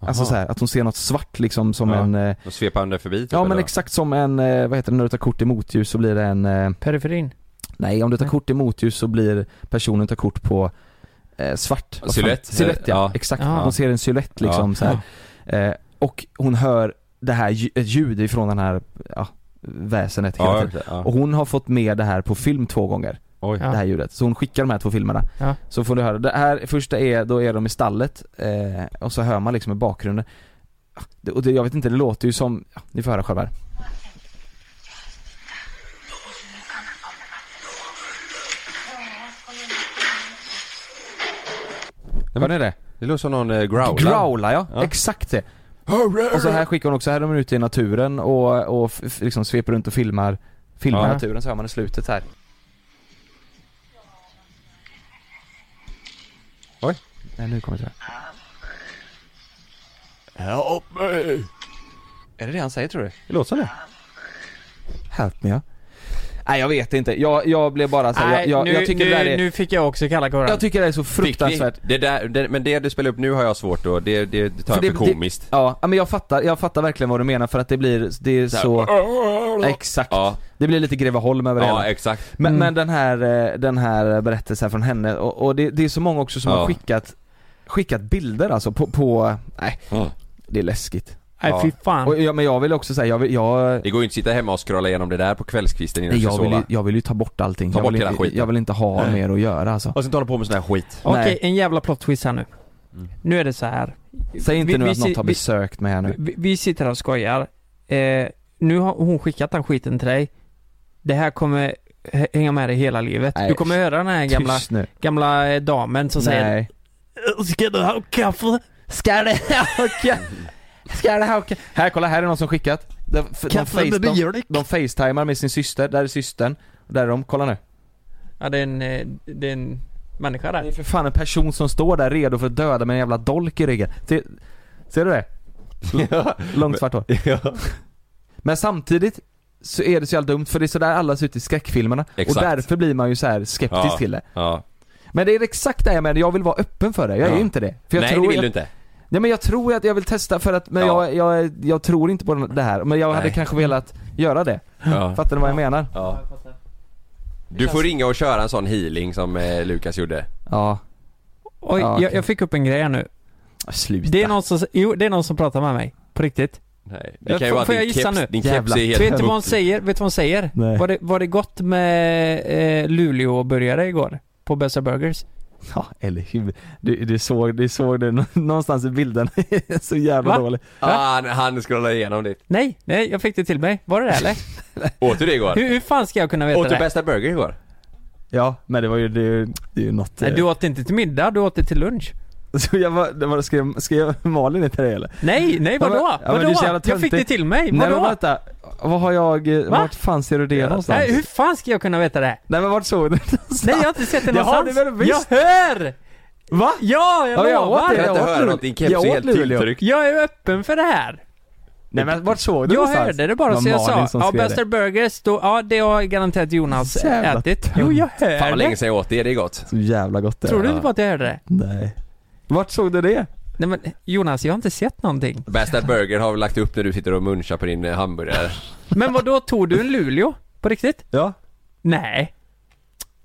Alltså
Aha.
så här, att hon ser något svart liksom som
Ja.
en eh,
Då svepar han det förbi typ,
Ja men
eller?
exakt som en, eh, vad heter det, när du tar kort i motljus så blir det en eh,
Periferin.
Nej, om du tar kort i motljus så blir personen tar kort på eh, svart. Vad fan?
Silhuett.
Silhuett ja.
Ja.
Exakt.
Ja.
Hon ser en silhuett liksom
Ja.
så här. Eh, och hon hör det här lju- ett ljud ifrån den här, ja, väsenet hela
Ja,
tiden.
okej, ja.
Och hon har fått med det här på film två gånger,
Oj.
Ja.
det här ljudet. Så hon skickar de här två filmerna.
Ja.
Så får du höra, det här första är, då är de i stallet eh, och så hör man liksom i bakgrunden Ja, det- och det, jag vet inte, det låter ju som, ja, ni får höra själva här.
Vad är det? Det låter som någon eh, growlar.
Growla ja,
Ja.
exakt det. Och så här skickar hon också, här är de ute i naturen och, och f- f- liksom sveper runt och filmar, filmar
Ja.
naturen så hör man i slutet här.
Oj.
Nej nu kommer det här.
Help me!
Är det det han säger tror du?
Det låter som det.
Help me ja. Nej jag vet inte, jag, jag blev bara såhär,
Nej,
jag, jag,
nu,
jag tycker det där
nu,
är,
nu fick jag också kalla kårar.
jag tycker det är så fruktansvärt
Det där, det, men det du spelar upp nu har jag svårt då. Det, det, det tar
För
jag för komiskt.
Det, ja, men jag fattar, jag fattar verkligen vad du menar för att det blir, det är så... Exakt.
Ja.
Det blir lite Greveholm över det
ja,
hela.
exakt.
Men,
Mm.
men den här, eh, den här berättelsen från henne och, och det, det är så många också som
Ja.
har skickat, skickat bilder alltså på, på nej
Ja.
det är läskigt.
Nej fy
Och,
fan.
ja, men jag vill också säga, jag vill, jag,
Det går ju inte att sitta hemma och scrolla igenom det där på kvällskvisten innan du
nej,
ska
jag, vill,
sova.
ju- jag vill ju ta bort allting.
Ta
jag,
bort
vill
hela
inte,
skiten.
jag vill inte ha mer att göra alltså.
Och sen håller på med sån här skit.
Okej,
Nej.
en jävla plot twist här nu.
Mm.
Nu är det så här.
Säg inte
vi-
nu
vi
att något
ser-
har
vi-
besökt mig här nu.
Vi, vi sitter här och skojar. Eh, nu har hon skickat den skiten till dig. Det här kommer h- hänga med dig hela livet.
Nej.
Du kommer höra den här gamla,
Tyst nu.
gamla eh, damen som säger
Nej.
Ska du ha kaffe? Ska du ha kaffe? Ska du ha kaffe?
Här kolla, här är någon som skickat. De, f- de,
Kaffe
face,
med
de,
mjölk.
de facetimar med sin syster, där är systern. Där är de, kolla nu.
Ja det är en, eh, det är en människa
Det
där.
är för fan en person som står där redo för att döda med en jävla dolk i ryggen. Se, ser du det? Långt svart hår. Men samtidigt så är det så jävla dumt för det är så där alla ser ut i skräckfilmerna.
Exakt.
Och därför blir man ju så här skeptisk
Ja.
till det.
Ja.
Men det är exakt det jag menar, jag vill vara öppen för det. Jag är
Ja.
ju inte det. För jag
Nej,
tror
det vill
jag,
du inte.
Nej men jag tror att jag vill testa för att, men
Ja.
jag, jag, jag tror inte på det här. Men jag hade
Nej.
kanske velat göra det.
Ja.
Fattar ni vad jag menar?
Ja. Du får ringa och köra en sån healing som eh, Lukas gjorde.
Ja.
Oj,
Ja,
jag,
okej.
jag fick upp en grej här nu.
Sluta.
Det är någon som, jo det är någon som pratar med mig. På riktigt.
Nej.
Ja,
Det kan ju
får-
vara att
får jag
din
gissa
keps,
nu?
din keps
Jävlar.
är helt
Vet du vad hon
muckig.
säger? Vet du vad hon säger?
Nej.
Var det, var det gott med eh, Luleå-burgare igår? På Bästa Burgers?
Ja, eller hur? Du, du såg, du såg det nå- någonstans i bilden. så jävla
Va?
dålig.
Ah, han, han scrollade igenom det.
Nej, nej, jag fick det till mig. Var det det eller?
Åt du det igår?
hur, hur fan ska jag kunna veta
Åt du
typ
det?
bästa burger igår?
Ja, men det var ju, det, är ju- det är ju något.
Nej,
eh,
du åt inte till middag, du åt det till lunch.
Så jag var, det var, skrev, skrev Malin inte det eller?
Nej, nej
Ja, men-
vadå?
ja, men du är
vadå?
så jävla
jag fick
töntig.
det till mig,
Nej
vadå?
men vänta, vad har jag, eh,
Va?
vart fan ser du det någonstans?
nej, hur fan ska jag kunna veta det?
Nej men vart såg du det någonstans?
Nej, jag har inte sett det
Det har
någonstans.
du väl visst?
jag hör!
Va?
Ja, jag
Ja, jag åt
lovar!
Jag
det.
kan
åt
inte höra
Luleå.
något, din keps
Jag
är
åt
helt
Luleå.
tilltryckt.
Jag är öppen för det här.
Nej men vart såg du
Jag
någonstans?
hörde det bara
var
så jag sa,
Malin som
ja
skrev det.
Buster Burgers, då, ja det har garanterat Jonas
Så jävla
ätit. Jo jag
Fan
hör
vad länge
det.
sedan jag åt det, det är gott.
Så jävla gott det
Tror du
var.
inte på att jag hörde det?
Nej. Vart såg du det?
Nej men Jonas, jag har inte sett någonting.
Bästa burger har vi lagt upp när du sitter och munchar på din eh, hamburgare.
Men vad då tog du en Luleå? På riktigt?
Ja.
Nej.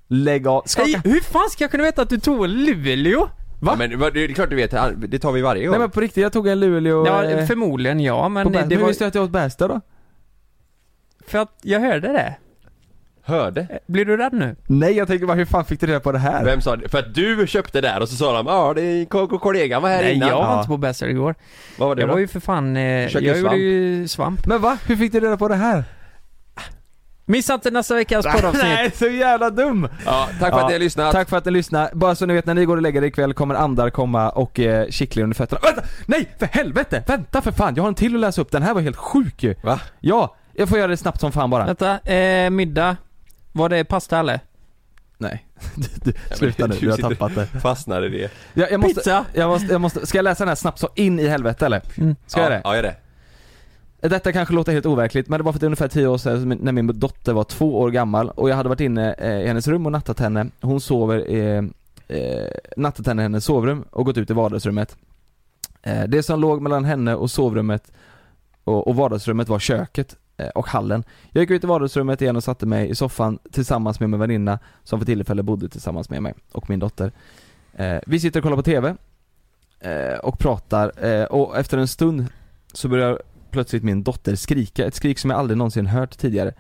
Lägg av,
Nej,
skaka.
hur fan ska jag kunna veta att du tog en Luleå?
Ja, men vad- det är klart du vet, han- det tar vi varje
Nej
gång.
men på riktigt, jag tog en Luleå...
Ja,
eh,
förmodligen ja,
på
men
Bästa.
det
Hur
var
visste du att jag åt Bästa då?
för att jag hörde det.
Hörde?
Blir du rädd nu?
Nej jag tänkte bara, hur fan fick du reda på det här?
Vem sa det? För att du köpte där och så sa de ja, det är ko- ko- kollegan var här
Nej,
innan.
jag var
Ja.
inte på Bästa igår.
Vad var det
Jag
då?
var ju för fan, eh, jag
Försöker
gjorde
svamp.
ju svamp.
Men va? Hur fick du reda på det här?
Missa inte nästa veckas poddavsnitt.
Nej, så jävla dum!
Ja, tack för att ni har lyssnat.
Tack för att ni lyssnade. Bara så ni vet, när ni går och lägger er ikväll kommer andar komma och eh, kittla er under fötterna. Vänta! Nej, för helvete! Vänta för fan, jag har en till att läsa upp. Den här var helt sjuk ju.
Va?
Ja, jag får göra det snabbt som fan bara.
Vänta, eh, middag. Var det pasta eller?
Nej. Du, du, sluta nu,
du
du har
sitter-
tappat det.
Fastnade i det.
Jag, jag, måste,
Pizza!
jag, måste, jag måste, ska jag läsa den här snabbt så in i helvete eller? Ska jag
Mm. ja,
det?
Ja, gör det.
Detta kanske låter helt overkligt men det var för att det är ungefär 10 år sedan som min- när min dotter var två år gammal och jag hade varit inne eh, i hennes rum och nattat henne. Hon sover, eh, eh, nattat henne i hennes sovrum och gått ut i vardagsrummet. Eh, det som låg mellan henne och sovrummet och, och vardagsrummet var köket. eh, och hallen. Jag gick ut i vardagsrummet igen och satte mig i soffan tillsammans med min väninna som för tillfället bodde tillsammans med mig och min dotter. Eh, Vi sitter och kollar på TV eh, och pratar eh, och efter en stund så börjar plötsligt min dotter skrika, ett skrik som jag aldrig någonsin hört tidigare.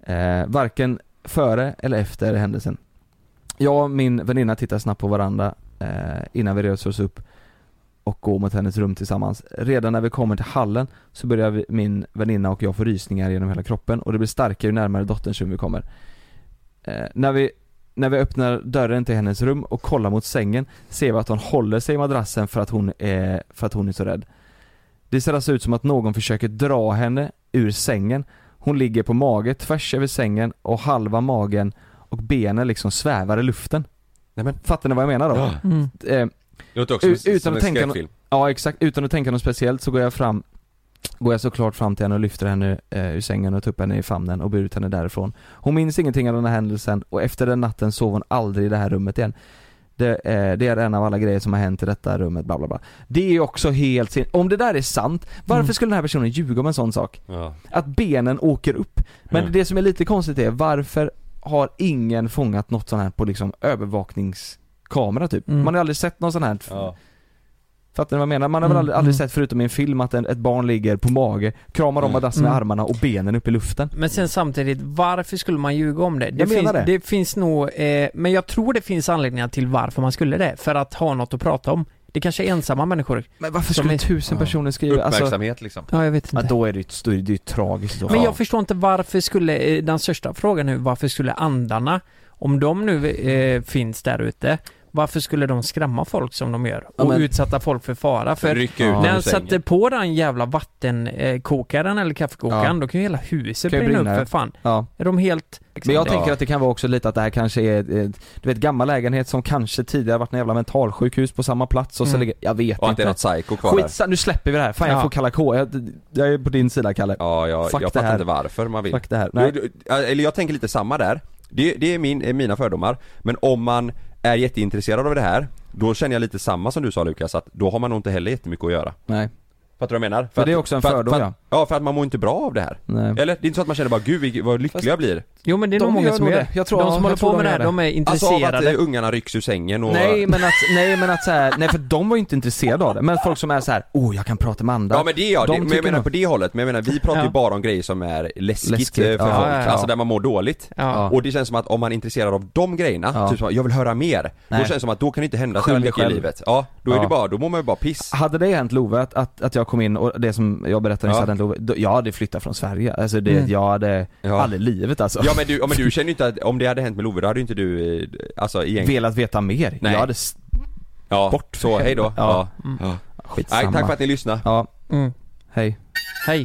Eh, varken före eller efter händelsen. Jag och min väninna tittar snabbt på varandra eh, innan vi reser oss upp och går mot hennes rum tillsammans. Redan när vi kommer till hallen så börjar vi, min väninna och jag få rysningar genom hela kroppen och det blir starkare ju närmare dotterns rum vi kommer. Eh, när, vi, när vi öppnar dörren till hennes rum och kollar mot sängen ser vi att hon håller sig i madrassen för att hon är, för att hon är så rädd. Det ser alltså ut som att någon försöker dra henne ur sängen. Hon ligger på mage tvärs över sängen och halva magen och benen liksom svävar i luften.
Nej, men-
Fattar ni vad jag menar då?
Ja.
Mm.
Eh,
Det låter också
U-
som,
utan
som
att
en
tänka nå-
skräckfilm.
Ja exakt, utan att tänka något speciellt så går jag fram Går jag såklart fram till henne och lyfter henne eh, ur sängen och tar upp henne i famnen och bär ut henne därifrån Hon minns ingenting av den här händelsen och efter den natten sov hon aldrig i det här rummet igen det, eh, det är en av alla grejer som har hänt i detta rummet bla bla bla Det är ju också helt sin... Om det där är sant, varför
Mm.
skulle den här personen ljuga om en sån sak?
Ja.
Att benen åker upp Men
Mm.
det som är lite konstigt är varför har ingen fångat något sånt här på liksom övervakningskamera typ?
Mm.
Man har ju aldrig sett någon sån här
Alltså-
Ja.
Fattar ni vad jag menar? Man har väl
Mm,
aldrig, aldrig
mm.
sett förutom i en film att en, ett barn ligger på mage, kramar om madrassen med
Mm.
armarna och benen upp i luften.
Men sen samtidigt, varför skulle man ljuga om det? Det
Jag menar
finns,
det.
finns nog, eh, men jag tror det finns anledningar till varför man skulle det. För att ha något att prata om. Det kanske är ensamma människor.
Men varför
Som
skulle
är-
tusen
Ja.
personer skriva? Alltså,
Uppmärksamhet liksom.
Ja, jag vet
ja, då är det ju ett- då är det ju tragiskt då.
Men
Ja.
jag förstår inte varför skulle, eh, den största frågan nu, varför skulle andarna, om de nu eh, finns där ute, varför skulle de skrämma folk som de gör?
Ja,
Och
men-
utsätta folk för fara? För
Rycka ut
Ja,
när
ur
han
sängen.
sätter på den jävla vattenkokaren eller kaffekokaren,
Ja.
då kan ju hela huset
Kan ju
brinna upp
brinna,
för fan.
ja.
Är de helt...
Men jag
Ja.
tänker att det kan vara också lite att det här kanske är, ett, ett- du vet gammal lägenhet som kanske tidigare varit en jävla mentalsjukhus på samma plats och så
Mm.
ligger, jag vet
Och att det är
inte.
något psycho kvar där.
Skitsa, nu släpper vi det här. Fan jag
Ja.
får kalla K. Jag, jag är på din sida Kalle.
Ja, ja
Fuck
jag
det
fattar
här.
inte varför man vill.
Fuck det här.
Jo,
Nej.
du- Eller jag tänker lite samma där. Det, det är min, är mina fördomar. Men om man är jätteintresserad av det här, då känner jag lite samma som du sa Lukas, att då har man nog inte heller jättemycket att göra.
Nej.
Fattar du vad jag menar? För
det är
att-
också en
för att-
fördom,
för att, ja. för att man mår inte bra av det här.
Nej.
Eller? Det är inte så att man känner bara 'Gud vilk- vad lycklig
Fast-
jag blir'
Jo men det är
De
nog många
gör
som
nog
gör
det.
det.
Jag tror-
de som
jag
håller
tror
på med
de
det här,
gör det.
de är
Alltså av att
intresserade.
eh, ungarna rycks ur sängen och...
Nej men att, nej men att så här, nej för de var ju inte intresserade av det. Men folk som är så här, oh jag kan prata med andra.
Ja men det är jag,
De
det, men jag
tycker
menar
nog-
på det hållet, men jag menar vi pratar ju
Ja.
bara om grejer som är läskigt,
Läskigt,
eh, för
ja,
folk,
ja, ja.
alltså där man mår dåligt
Ja.
Och det känns som att om man är intresserad av de grejerna,
Ja.
typ som jag vill höra mer
Nej.
Då känns det som att då kan det inte hända så
Skyll dig
mycket i
själv.
livet Ja, då är
Ja.
det bara, då mår man ju bara piss
Hade det hänt Love att, att, att jag kom in och det som jag berättade nyss
Ja.
hade hänt Love, då, jag hade flyttat från Sverige. Alltså det,
Mm.
jag hade,
Ja.
aldrig i livet alltså.
Ja men du, ja, men du känner ju inte att, om det hade hänt med Love då hade ju inte du, eh, alltså egentligen
Velat veta mer.
Nej.
Jag hade, s-
ja.
bort.
Så, hej då
Ja.
ja.
Mm.
Ja.
skitsamma.
Nej, tack för att ni lyssnade
Ja,
Mm.
hej.
Hej.